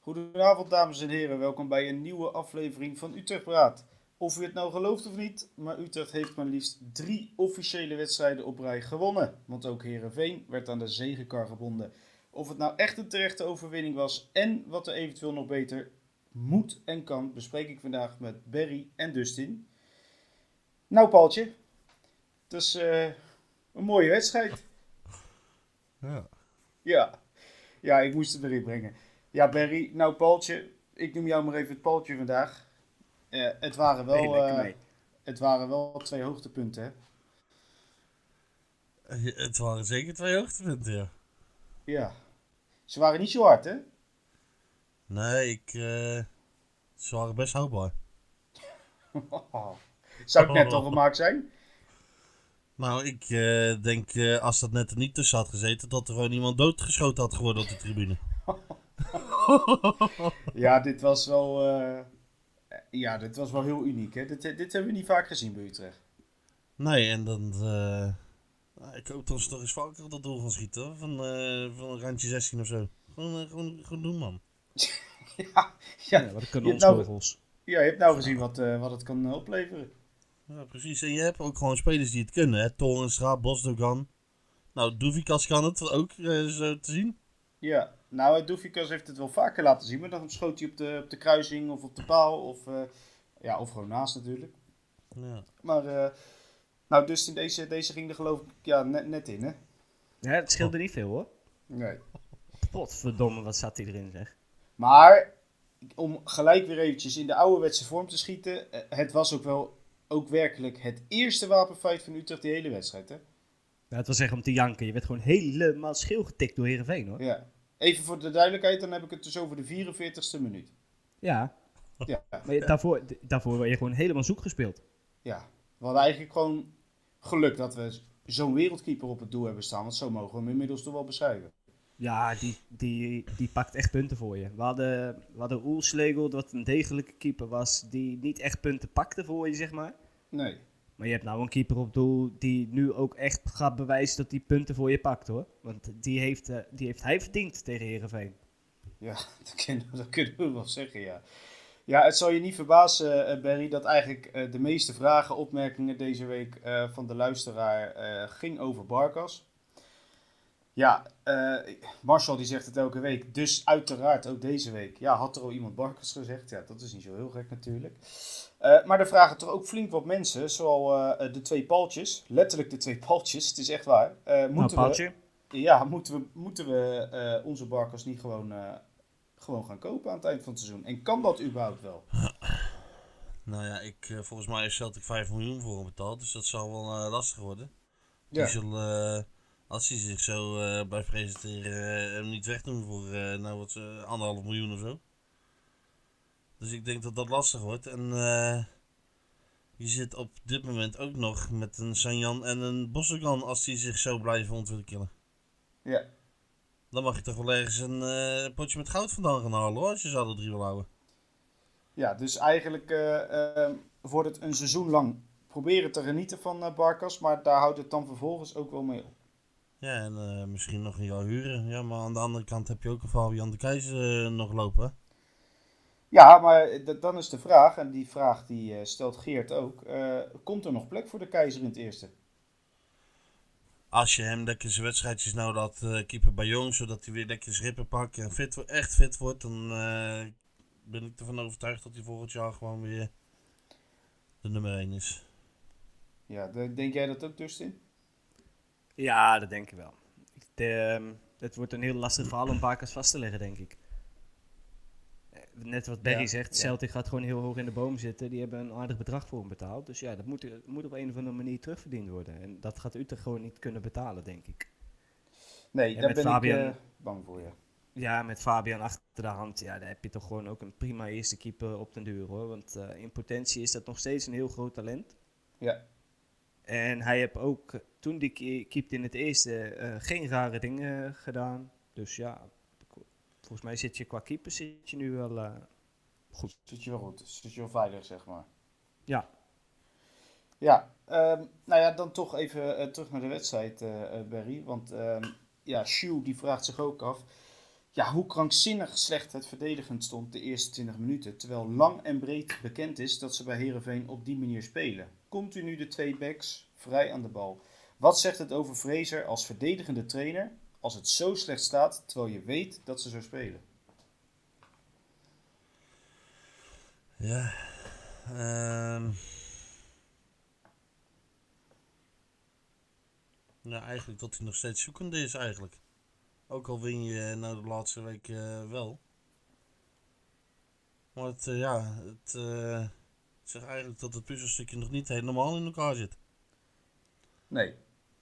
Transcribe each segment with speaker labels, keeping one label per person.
Speaker 1: Goedenavond dames en heren, welkom bij een nieuwe aflevering van Utrecht Praat. Of u het nou gelooft of niet, maar Utrecht heeft maar liefst drie officiële wedstrijden op rij gewonnen. Want ook Herenveen werd aan de zegenkar gebonden. Of het nou echt een terechte overwinning was en wat er eventueel nog beter moet en kan, bespreek ik vandaag met Barry en Dustin. Nou Paaltje, het is eh, een mooie wedstrijd.
Speaker 2: Ja.
Speaker 1: Ja. ja, ik moest het erin brengen. Ja, Barry, nou Paultje, ik noem jou maar even het Paultje vandaag. Eh, het, waren wel,
Speaker 3: Nee, lekker
Speaker 1: eh,
Speaker 3: mee.
Speaker 1: het waren wel twee hoogtepunten, hè?
Speaker 2: Het waren zeker twee hoogtepunten, ja.
Speaker 1: Ja. Ze waren niet zo hard, hè?
Speaker 2: Nee, ik... eh ze waren best houdbaar.
Speaker 1: Zou het net al
Speaker 3: Oh.
Speaker 1: gemaakt zijn?
Speaker 2: Nou, ik eh, denk eh, als dat net er niet tussen had gezeten, dat er gewoon iemand doodgeschoten had geworden op de tribune.
Speaker 1: Ja, dit was wel, eh, ja, dit was wel heel uniek, hè? Dit, dit hebben we niet vaak gezien bij Utrecht.
Speaker 2: Nee, en dan... eh, nou, ik hoop dat ze toch eens vaker op dat doel gaan schieten, hoor. Van, eh van een randje 16 of zo. Gewoon, eh, gewoon, gewoon doen, man.
Speaker 1: Ja,
Speaker 3: Ja,
Speaker 1: ja.
Speaker 3: wat
Speaker 1: Je
Speaker 3: kunnen
Speaker 1: hebt
Speaker 3: ons
Speaker 1: nou-
Speaker 3: vogels?
Speaker 1: ja je hebt nou gezien wat, eh, wat het kan eh, opleveren.
Speaker 2: Ja, precies. En je hebt ook gewoon spelers die het kunnen, hè. Torenstra, Bosdogan. Nou, Doevikas kan het ook, eh, zo te zien.
Speaker 1: Ja, nou, Doefikas heeft het wel vaker laten zien, maar dan schoot hij op de, op de kruising of op de paal of, eh, ja, of gewoon naast natuurlijk.
Speaker 2: Ja.
Speaker 1: Maar, eh, nou, dus in deze, deze ging er geloof ik ja, net, net in, hè?
Speaker 3: Ja, het scheelde niet veel hoor.
Speaker 1: Nee.
Speaker 3: Potverdomme, wat zat hij erin zeg.
Speaker 1: Maar, om gelijk weer eventjes in de ouderwetse vorm te schieten, eh, het was ook wel ook werkelijk het eerste wapenfeit van Utrecht die hele wedstrijd, hè?
Speaker 3: Nou, het was echt om te janken. Je werd gewoon helemaal scheel getikt door Heerenveen hoor.
Speaker 1: Ja. Even voor de duidelijkheid, dan heb ik het dus over de 44ste minuut.
Speaker 3: Ja,
Speaker 1: Ja,
Speaker 3: maar je- daarvoor, d- daarvoor werd je gewoon helemaal zoek gespeeld.
Speaker 1: ja. We hadden eigenlijk gewoon geluk dat we zo'n wereldkeeper op het doel hebben staan, want zo mogen we hem inmiddels toch wel beschrijven.
Speaker 3: Ja, die, die, die pakt echt punten voor je. We hadden, we hadden Oelslegel, wat een degelijke keeper was, die niet echt punten pakte voor je, zeg maar.
Speaker 1: Nee.
Speaker 3: Maar je hebt nou een keeper op doel die nu ook echt gaat bewijzen dat hij punten voor je pakt hoor. Want die heeft, eh, die heeft hij verdiend tegen Heerenveen.
Speaker 1: Ja, dat kunnen, dat kunnen we wel zeggen, ja. Ja, het zal je niet verbazen, eh, Barry, dat eigenlijk eh, de meeste vragen, opmerkingen deze week eh, van de luisteraar eh, ging over Barkas. Ja, eh, Marcel die zegt het elke week, dus uiteraard ook deze week. Ja, had er al iemand Barkas gezegd? Ja, dat is niet zo heel gek natuurlijk. Eh, maar er vragen toch ook flink wat mensen, zoal eh, de twee paltjes, letterlijk de twee paltjes, het is echt waar. Eh,
Speaker 3: nou,
Speaker 1: moeten we-
Speaker 3: Paaltje,
Speaker 1: ja, moeten we, moeten we eh, onze barkers niet gewoon, eh, gewoon gaan kopen aan het eind van het seizoen? En kan dat überhaupt wel?
Speaker 2: Nou ja, ik, eh, volgens mij heeft Celtic 5 miljoen voor hem betaald, dus dat zal wel eh, lastig worden. Die zullen, eh, als hij zich zo eh bij presenteren, eh, hem niet wegdoen voor eh, nou wat, eh, anderhalf miljoen of zo. Dus ik denk dat dat lastig wordt. En eh, je zit op dit moment ook nog met een Sanjan en een Bosdogan als die zich zo blijven ontwikkelen.
Speaker 1: Ja.
Speaker 2: Dan mag je toch wel ergens een eh, potje met goud vandaan gaan halen hoor, als je ze alle drie wil houden.
Speaker 1: ja, dus eigenlijk eh, ehm, wordt het een seizoen lang proberen te genieten van eh Barkas, maar daar houdt het dan vervolgens ook wel mee op.
Speaker 2: Ja, en eh, misschien nog een jaar huren. Ja, maar aan de andere kant heb je ook een Fabian de Keizer eh, nog lopen. hè?
Speaker 1: Ja, maar eh, d- dan is de vraag, en die vraag die eh, stelt Geert ook, eh, komt er nog plek voor de keizer in het eerste?
Speaker 2: Als je hem lekker zijn wedstrijdjes nou laat eh keeper bij Jong, zodat hij weer lekker zijn rippen pakt en fit, wo- echt fit wordt, dan eh, ben ik ervan overtuigd dat hij volgend jaar gewoon weer de nummer 1 is.
Speaker 1: Ja, de- denk jij dat ook, Dustin?
Speaker 3: Ja, dat denk ik wel. Ik- de, ehm, het wordt een heel lastig verhaal om Barkas vast te leggen, denk ik. Eh, Net wat Berry
Speaker 1: Ja,
Speaker 3: zegt,
Speaker 1: ja.
Speaker 3: Celtic gaat gewoon heel hoog in de boom zitten. Die hebben een aardig bedrag voor hem betaald. Dus ja, dat moet, moet op een of andere manier terugverdiend worden. En dat gaat Utrecht gewoon niet kunnen betalen, denk ik.
Speaker 1: Nee,
Speaker 3: En
Speaker 1: daar
Speaker 3: met
Speaker 1: ben
Speaker 3: Fabian-
Speaker 1: ik eh, bang voor, ja.
Speaker 3: Ja, met Fabian achter de hand, ja, daar heb je toch gewoon ook een prima eerste keeper op den duur hoor. Want eh, in potentie is dat nog steeds een heel groot talent.
Speaker 1: Ja.
Speaker 3: En hij heeft ook eh, toen die ke- keept in het eerste eh, geen rare dingen gedaan. Dus ja, k- volgens mij zit je qua keeper zit je nu wel eh, goed.
Speaker 1: Zit je wel goed, zit je wel veilig, zeg maar.
Speaker 3: Ja,
Speaker 1: Ja, ehm, nou ja, dan toch even eh, terug naar de wedstrijd, eh eh, Barry. Want ehm ja, Shu die vraagt zich ook af. ja, hoe krankzinnig slecht het verdedigend stond de eerste 20 minuten. Terwijl lang en breed bekend is dat ze bij Herenveen op die manier spelen. Continu de twee backs vrij aan de bal. Wat zegt het over Fraser als verdedigende trainer als het zo slecht staat terwijl je weet dat ze zo spelen?
Speaker 2: Ja. ehm. ja, eigenlijk dat hij nog steeds zoekende is eigenlijk. Ook al win je eh, nou de laatste week eh, wel. Maar het, eh, ja, het eh, het zegt eigenlijk dat het puzzelstukje nog niet helemaal in elkaar zit.
Speaker 1: Nee.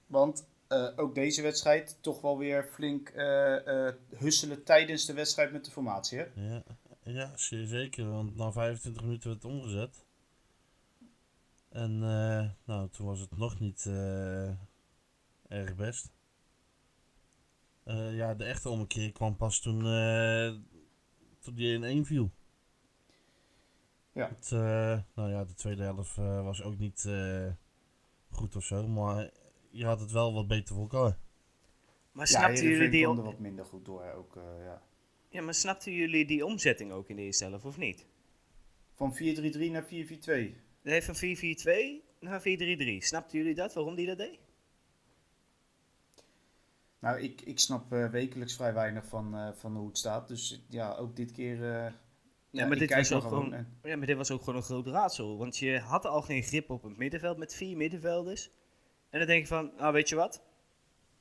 Speaker 1: Want eh, ook deze wedstrijd toch wel weer flink eh, eh, husselen tijdens de wedstrijd met de formatie. Hè?
Speaker 2: Ja, ja zeer zeker. Want na 25 minuten werd het omgezet. En eh, nou, toen was het nog niet eh, erg best. Eh, ja, de echte ommekeer kwam pas toen, eh, toen die in één viel.
Speaker 1: Ja.
Speaker 2: Het, eh, nou ja, de tweede helft eh, was ook niet eh, goed of zo. Maar je had het wel wat beter voor elkaar.
Speaker 3: Maar
Speaker 1: Ja,
Speaker 3: snapten, jullie
Speaker 1: Heerenveen
Speaker 3: die
Speaker 1: kwam er
Speaker 3: om-
Speaker 1: wat minder goed door. Hè? Ook, eh, ja.
Speaker 3: ja, maar snapten jullie die omzetting ook in de eerste helft, of niet?
Speaker 1: Van 4-3-3 naar 4-4-2.
Speaker 3: Nee, van 4-4-2 naar 4-3-3. Snapten jullie dat, waarom die dat deed?
Speaker 1: Nou, ik, ik snap eh, wekelijks vrij weinig van, eh, van hoe het staat. Dus ja, ook dit keer. eh,
Speaker 3: maar
Speaker 1: ik
Speaker 3: dit
Speaker 1: kijk
Speaker 3: was
Speaker 1: maar
Speaker 3: ook gewoon-
Speaker 1: en-
Speaker 3: Ja, maar dit was ook gewoon een groot raadsel. Want je had al geen grip op het middenveld met vier middenvelders. En dan denk je van, ah, weet je wat?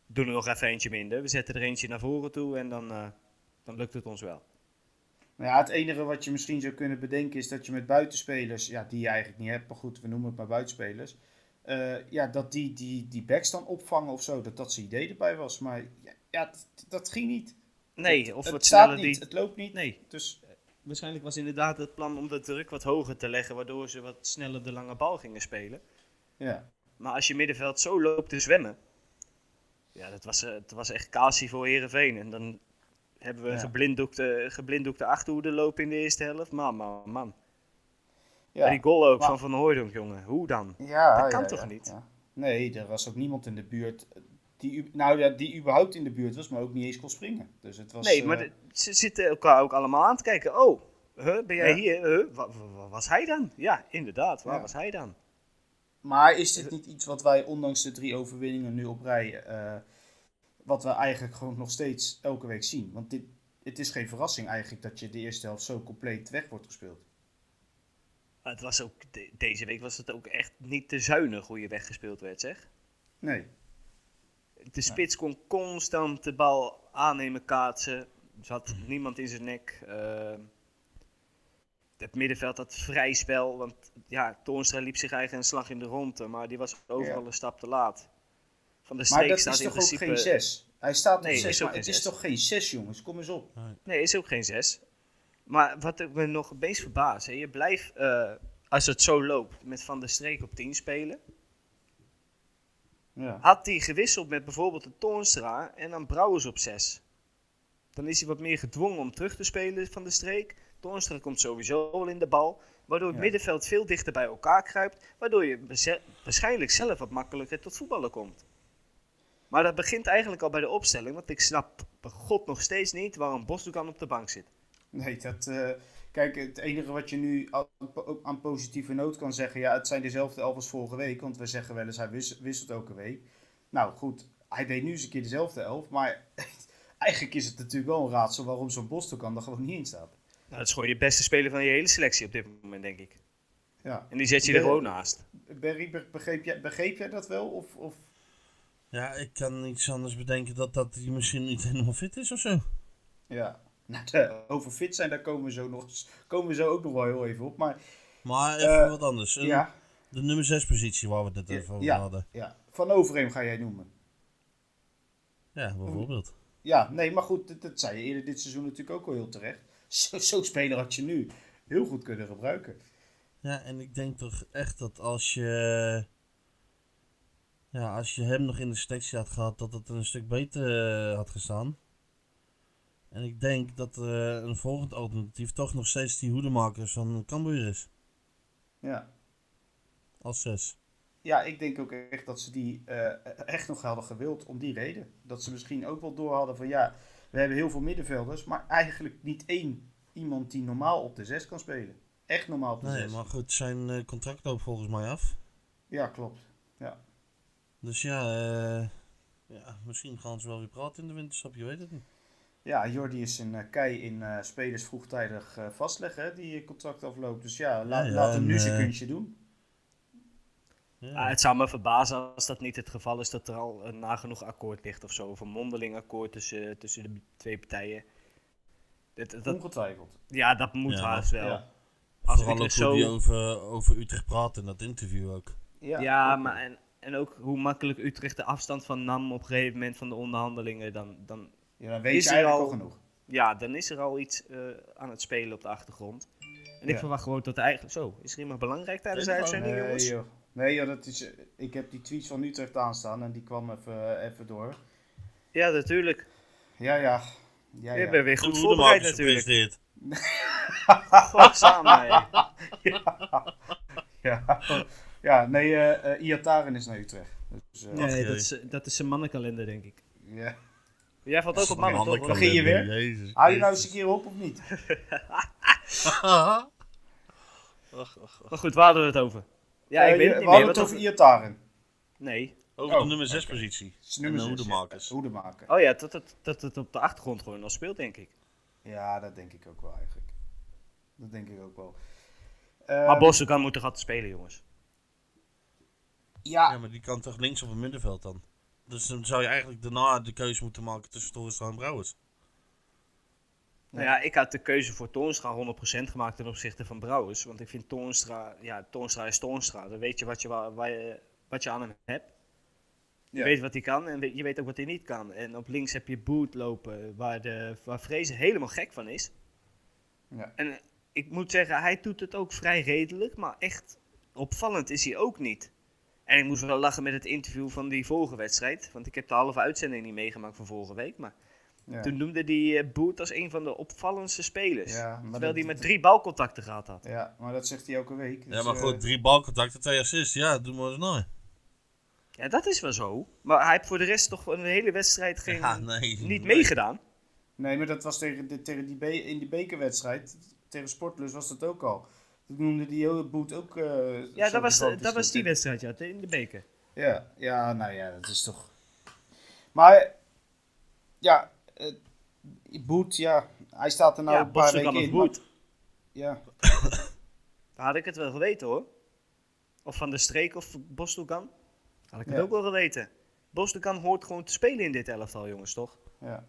Speaker 3: Doe er nog even eentje minder. We zetten er eentje naar voren toe en dan, eh, dan lukt het ons wel.
Speaker 1: Nou ja, het enige wat je misschien zou kunnen bedenken is dat je met buitenspelers, ja, die je eigenlijk niet hebt, maar goed, we noemen het maar buitenspelers. eh, ja, dat die, die, die backs dan opvangen of zo, dat dat zijn idee erbij was. Maar ja, ja dat, dat ging niet.
Speaker 3: Nee,
Speaker 1: Het-
Speaker 3: of
Speaker 1: het
Speaker 3: wat
Speaker 1: staat
Speaker 3: sneller
Speaker 1: niet,
Speaker 3: die...
Speaker 1: het loopt niet.
Speaker 3: Nee,
Speaker 1: Dus
Speaker 3: waarschijnlijk was inderdaad het plan om de druk wat hoger te leggen... waardoor ze wat sneller de lange bal gingen spelen.
Speaker 1: ja.
Speaker 3: Maar als je middenveld zo loopt te zwemmen... Ja, dat was, eh, het was echt casie voor Herenveen. En dan hebben we een
Speaker 1: Ja.
Speaker 3: geblinddoekte, geblinddoekte achterhoede lopen in de eerste helft. Man, man, man.
Speaker 1: ja.
Speaker 3: Die goal ook
Speaker 1: Maar-
Speaker 3: van Van Hooijdonk, jongen. Hoe dan?
Speaker 1: Ja,
Speaker 3: Dat
Speaker 1: ja,
Speaker 3: kan toch
Speaker 1: ja,
Speaker 3: niet?
Speaker 1: ja. Nee, er was ook niemand in de buurt die, u- nou, ja, die überhaupt in de buurt was, maar ook niet eens kon springen. Dus het was,
Speaker 3: nee, maar
Speaker 1: eh,
Speaker 3: de- ze zitten elkaar ook allemaal aan te kijken. Oh, huh, ben jij
Speaker 1: Ja.
Speaker 3: hier? Huh, wa- wa- wa- was hij dan? Ja, inderdaad. Waar
Speaker 1: Ja.
Speaker 3: was hij dan?
Speaker 1: Maar is dit niet iets wat wij, ondanks de drie overwinningen nu op rij, eh, wat we eigenlijk gewoon nog steeds elke week zien? Want dit, het is geen verrassing eigenlijk dat je de eerste helft zo compleet weg wordt gespeeld.
Speaker 3: Maar Het was ook, de- deze week was het ook echt niet te zuinig hoe je weggespeeld werd, zeg.
Speaker 1: Nee.
Speaker 3: De spits kon constant de bal aannemen, kaatsen. Er zat
Speaker 1: Mhm.
Speaker 3: niemand in zijn nek. Ehm, het middenveld had vrij spel. Want ja, Toornstra liep zich eigen een slag in de ronde. Maar die was overal
Speaker 1: Ja.
Speaker 3: een stap te laat. Van de
Speaker 1: Maar
Speaker 3: streek
Speaker 1: dat
Speaker 3: staat
Speaker 1: is
Speaker 3: in
Speaker 1: toch ook
Speaker 3: principe...
Speaker 1: geen zes? Hij staat op
Speaker 3: Nee,
Speaker 1: zes,
Speaker 3: is ook
Speaker 1: maar
Speaker 3: geen
Speaker 1: het is
Speaker 3: zes.
Speaker 1: toch geen zes, jongens? Kom eens op.
Speaker 3: Nee, is ook geen 6. Maar wat ik me nog het meest verbaast, hè, je blijft, eh, als het zo loopt, met Van der Streek op 10 spelen.
Speaker 1: Ja.
Speaker 3: Had hij gewisseld met bijvoorbeeld de Toornstra en dan Brouwers op 6. Dan is hij wat meer gedwongen om terug te spelen van de streek. Toornstra komt sowieso wel in de bal. Waardoor het
Speaker 1: Ja.
Speaker 3: middenveld veel dichter bij elkaar kruipt. Waardoor je beze- waarschijnlijk zelf wat makkelijker tot voetballen komt. Maar dat begint eigenlijk al bij de opstelling. Want ik snap bij god nog steeds niet waarom Bosdoekan op de bank zit.
Speaker 1: Nee, dat. eh, kijk, het enige wat je nu aan, po- aan positieve noot kan zeggen. Ja, het zijn dezelfde elf als vorige week. Want we zeggen wel eens, hij wis- wisselt elke week. Nou goed, hij deed nu eens een keer dezelfde elf. Maar eigenlijk is het natuurlijk wel een raadsel waarom zo'n Bostelkan er gewoon niet in staat.
Speaker 3: Nou, dat is gewoon je beste speler van je hele selectie op dit moment, denk ik.
Speaker 1: Ja.
Speaker 3: En die zet je er
Speaker 1: Nee.
Speaker 3: gewoon naast.
Speaker 1: Barry, be- begreep jij, begreep jij dat wel? Of, of...
Speaker 2: Ja, ik kan niets anders bedenken dat dat hij misschien niet helemaal fit is of zo.
Speaker 1: Ja. Nou, de- over fit zijn, daar komen we, zo nog, eens- komen we zo ook nog wel heel even op. Maar
Speaker 2: Maar even
Speaker 1: Eh,
Speaker 2: wat anders. Een-
Speaker 1: ja,
Speaker 2: De nummer 6 positie waar we het net
Speaker 1: Ja,
Speaker 2: even over
Speaker 1: ja.
Speaker 2: hadden.
Speaker 1: ja, Van Overeem ga jij noemen.
Speaker 2: Ja,
Speaker 1: Mm.
Speaker 2: bijvoorbeeld.
Speaker 1: Ja, nee, maar goed, dat, dat zei je eerder dit seizoen natuurlijk ook al heel terecht. Zo- Zo'n speler had je nu heel goed kunnen gebruiken.
Speaker 2: Ja, en ik denk toch echt dat als je... Ja, als je hem nog in de selectie had gehad, dat het een stuk beter eh, had gestaan. En ik denk dat eh, een volgend alternatief toch nog steeds die hoedemakers van Cambuur is.
Speaker 1: Ja.
Speaker 2: Als 6.
Speaker 1: ja, ik denk ook echt dat ze die eh, echt nog hadden gewild om die reden. Dat ze misschien ook wel door hadden van ja, We hebben heel veel middenvelders, maar eigenlijk niet één iemand die normaal op de 6 kan spelen. Echt normaal op de 6.
Speaker 2: Nee, maar goed, zijn eh, contract loopt volgens mij af.
Speaker 1: Ja, klopt. Ja.
Speaker 2: Dus ja, eh, ja, misschien gaan ze wel weer praten in de winterstop, je weet het niet.
Speaker 1: Ja, Jordi is een eh, kei in eh, spelers vroegtijdig eh, vastleggen, hè, die eh, contract afloopt. Dus ja, la-
Speaker 2: Ja, ja,
Speaker 1: laat hem nu
Speaker 2: en,
Speaker 1: zijn
Speaker 2: eh,
Speaker 1: kunstje doen.
Speaker 2: Ja.
Speaker 3: Ah, het zou me verbazen als dat niet het geval is dat er al een nagenoeg akkoord ligt of zo. Of een mondeling akkoord tussen, tussen de twee partijen. Dat, dat- dat-
Speaker 1: Ongetwijfeld.
Speaker 3: ja, dat moet
Speaker 2: Ja,
Speaker 3: haast wel.
Speaker 1: Ja.
Speaker 3: Als
Speaker 2: Vooral ook hoe
Speaker 3: Utrecht zo...
Speaker 2: die over, over Utrecht praat in dat interview ook.
Speaker 1: Ja,
Speaker 3: Ja,
Speaker 1: klopt.
Speaker 3: maar en, en ook hoe makkelijk Utrecht de afstand van nam op een gegeven moment van de onderhandelingen. Dan, dan,
Speaker 1: Ja, dan weet
Speaker 3: is
Speaker 1: je
Speaker 3: er
Speaker 1: eigenlijk al...
Speaker 3: al-
Speaker 1: genoeg.
Speaker 3: ja, dan is er al iets eh, aan het spelen op de achtergrond. En ik
Speaker 1: Ja.
Speaker 3: verwacht gewoon dat de eigen... Zo, is er iemand belangrijk tijdens de
Speaker 2: Nee,
Speaker 3: uitzending,
Speaker 1: nee,
Speaker 3: jongens?
Speaker 1: joh. Nee, joh, dat is, eh, ik heb die tweets van Utrecht aanstaan en die kwam even, eh, even door.
Speaker 3: Ja, natuurlijk.
Speaker 1: Ja, ja. ja,
Speaker 3: Je
Speaker 1: ja.
Speaker 3: bent weer goed
Speaker 2: Hoe de
Speaker 3: voorbereid
Speaker 2: Marcus
Speaker 3: natuurlijk.
Speaker 2: gepresenteerd.
Speaker 3: Godsamme, hé.
Speaker 1: Ja, ja nee, eh, eh, Iataren is naar Utrecht. Dus, eh,
Speaker 2: Nee,
Speaker 3: Nee,
Speaker 2: dat
Speaker 3: dat
Speaker 2: is-
Speaker 3: is, dat is zijn mannenkalender, denk ik.
Speaker 1: ja.
Speaker 3: Jij valt ook op mannen, toch?
Speaker 1: Begin je weer?
Speaker 2: Jezus.
Speaker 1: Hou je nou eens een keer op of niet?
Speaker 3: Maar goed, waar hadden we het over? Ja, ik
Speaker 1: Eh,
Speaker 3: weet
Speaker 1: je-
Speaker 3: het niet
Speaker 1: we
Speaker 3: meer.
Speaker 1: hadden
Speaker 3: wat
Speaker 1: het over
Speaker 3: dat-
Speaker 1: Iataren.
Speaker 3: Nee.
Speaker 2: Over
Speaker 1: Oh,
Speaker 2: de nummer 6 positie.
Speaker 1: Het is nummer
Speaker 2: En de
Speaker 1: zes,
Speaker 2: hoedemakers.
Speaker 1: ja. Hoedemaker.
Speaker 3: Oh ja, dat het dat, het op de achtergrond gewoon al speelt, denk ik.
Speaker 1: Ja, dat denk ik ook wel eigenlijk. Dat denk ik ook wel. Eh,
Speaker 3: Maar Bossekan moet toch altijd spelen, jongens?
Speaker 1: ja,
Speaker 2: Ja, maar die kan toch links op het middenveld dan? Dus dan zou je eigenlijk daarna de keuze moeten maken tussen Torenstra en Brouwers.
Speaker 3: Nou ja, ik had de keuze voor Toornstra 100% gemaakt ten opzichte van Brouwers. Want ik vind Toornstra, ja, Toornstra is Toornstra. Dan weet je wat je, wa- waar je, wat je aan hem hebt. Je
Speaker 1: Ja.
Speaker 3: weet wat hij kan en we- je weet ook wat hij niet kan. En op links heb je Boet lopen, waar, de, waar Vrezen helemaal gek van is.
Speaker 1: Ja.
Speaker 3: En eh, ik moet zeggen, hij doet het ook vrij redelijk, maar echt opvallend is hij ook niet. En ik moest wel lachen met het interview van die vorige wedstrijd. Want ik heb de halve uitzending niet meegemaakt van vorige week. Maar
Speaker 1: ja.
Speaker 3: toen noemde die eh, Boet als een van de opvallendste spelers.
Speaker 1: Ja, maar
Speaker 3: terwijl
Speaker 1: dat-
Speaker 3: hij met drie balcontacten gehad had.
Speaker 1: ja, maar dat zegt hij elke week.
Speaker 2: ja,
Speaker 1: dus,
Speaker 2: maar
Speaker 1: eh,
Speaker 2: goed, drie balcontacten, twee assists. Ja, doe maar eens nou.
Speaker 3: Ja, dat is wel zo. Maar hij heeft voor de rest toch een hele wedstrijd geen,
Speaker 2: Ja, nee.
Speaker 3: niet meegedaan.
Speaker 1: Nee, maar dat was tegen, de, tegen die be- in die bekerwedstrijd. Tegen Sportlus was dat ook al. Toen noemde die hele boot ook... eh,
Speaker 3: Ja,
Speaker 1: zo'n
Speaker 3: dat was,
Speaker 1: gigantisch
Speaker 3: dat was die
Speaker 1: natuurlijk.
Speaker 3: wedstrijd, ja, in de beker.
Speaker 1: Ja, ja, nou ja, dat is toch. Maar, ja, eh, Boet, ja, hij staat er nou
Speaker 3: ja,
Speaker 1: een paar
Speaker 3: Bossekan
Speaker 1: weken
Speaker 3: of
Speaker 1: in.
Speaker 3: Boet.
Speaker 1: maar- Ja,
Speaker 3: Dan had ik het wel geweten hoor. Of Van der Streek of Bostelkan. Had ik het
Speaker 1: Ja.
Speaker 3: ook wel geweten. Bostelkan hoort gewoon te spelen in dit elftal, jongens, toch?
Speaker 1: ja.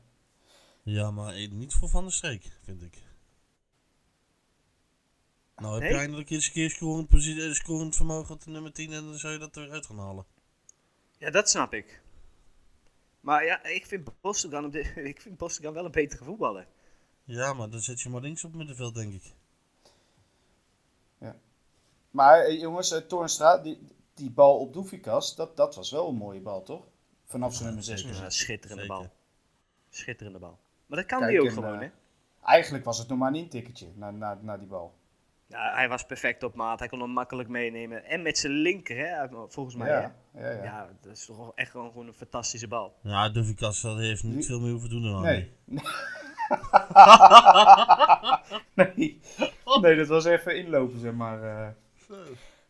Speaker 2: Ja, maar eh, niet voor Van der Streek, vind ik. Nou heb je
Speaker 3: Nee?
Speaker 2: eindelijk eens een keer scorend, posi- eh, scorend vermogen op de nummer 10 en dan zou je dat eruit gaan halen.
Speaker 3: Ja, dat snap ik. Maar ja, ik vind Bostelkan, op dit- ik vind Bostelkan wel een betere voetballer.
Speaker 2: Ja, maar dan zet je maar links op het middenveld, denk ik.
Speaker 1: Maar eh, jongens, eh, Toornstra, die, die bal op Doefikas, dat, dat was wel een mooie bal, toch? Vanaf zijn nummer 6
Speaker 2: zeker.
Speaker 3: Ja, schitterende
Speaker 2: Zeker.
Speaker 3: bal. Schitterende bal. Maar dat kan
Speaker 1: Kijk,
Speaker 3: hij ook
Speaker 1: en, eh,
Speaker 3: gewoon, hè?
Speaker 1: Eigenlijk was het nog maar een intikketje na, na, na die bal.
Speaker 3: Ja, hij was perfect op maat. Hij kon hem makkelijk meenemen. En met zijn linker, hè, volgens mij.
Speaker 1: ja, ja,
Speaker 3: Hè?
Speaker 1: ja.
Speaker 3: ja, dat is toch wel echt gewoon gewoon een fantastische bal.
Speaker 2: Ja, Dovikas dat heeft niet veel meer hoeven doen dan
Speaker 1: Nee. nee. nee, dat was even inlopen, zeg maar. eh.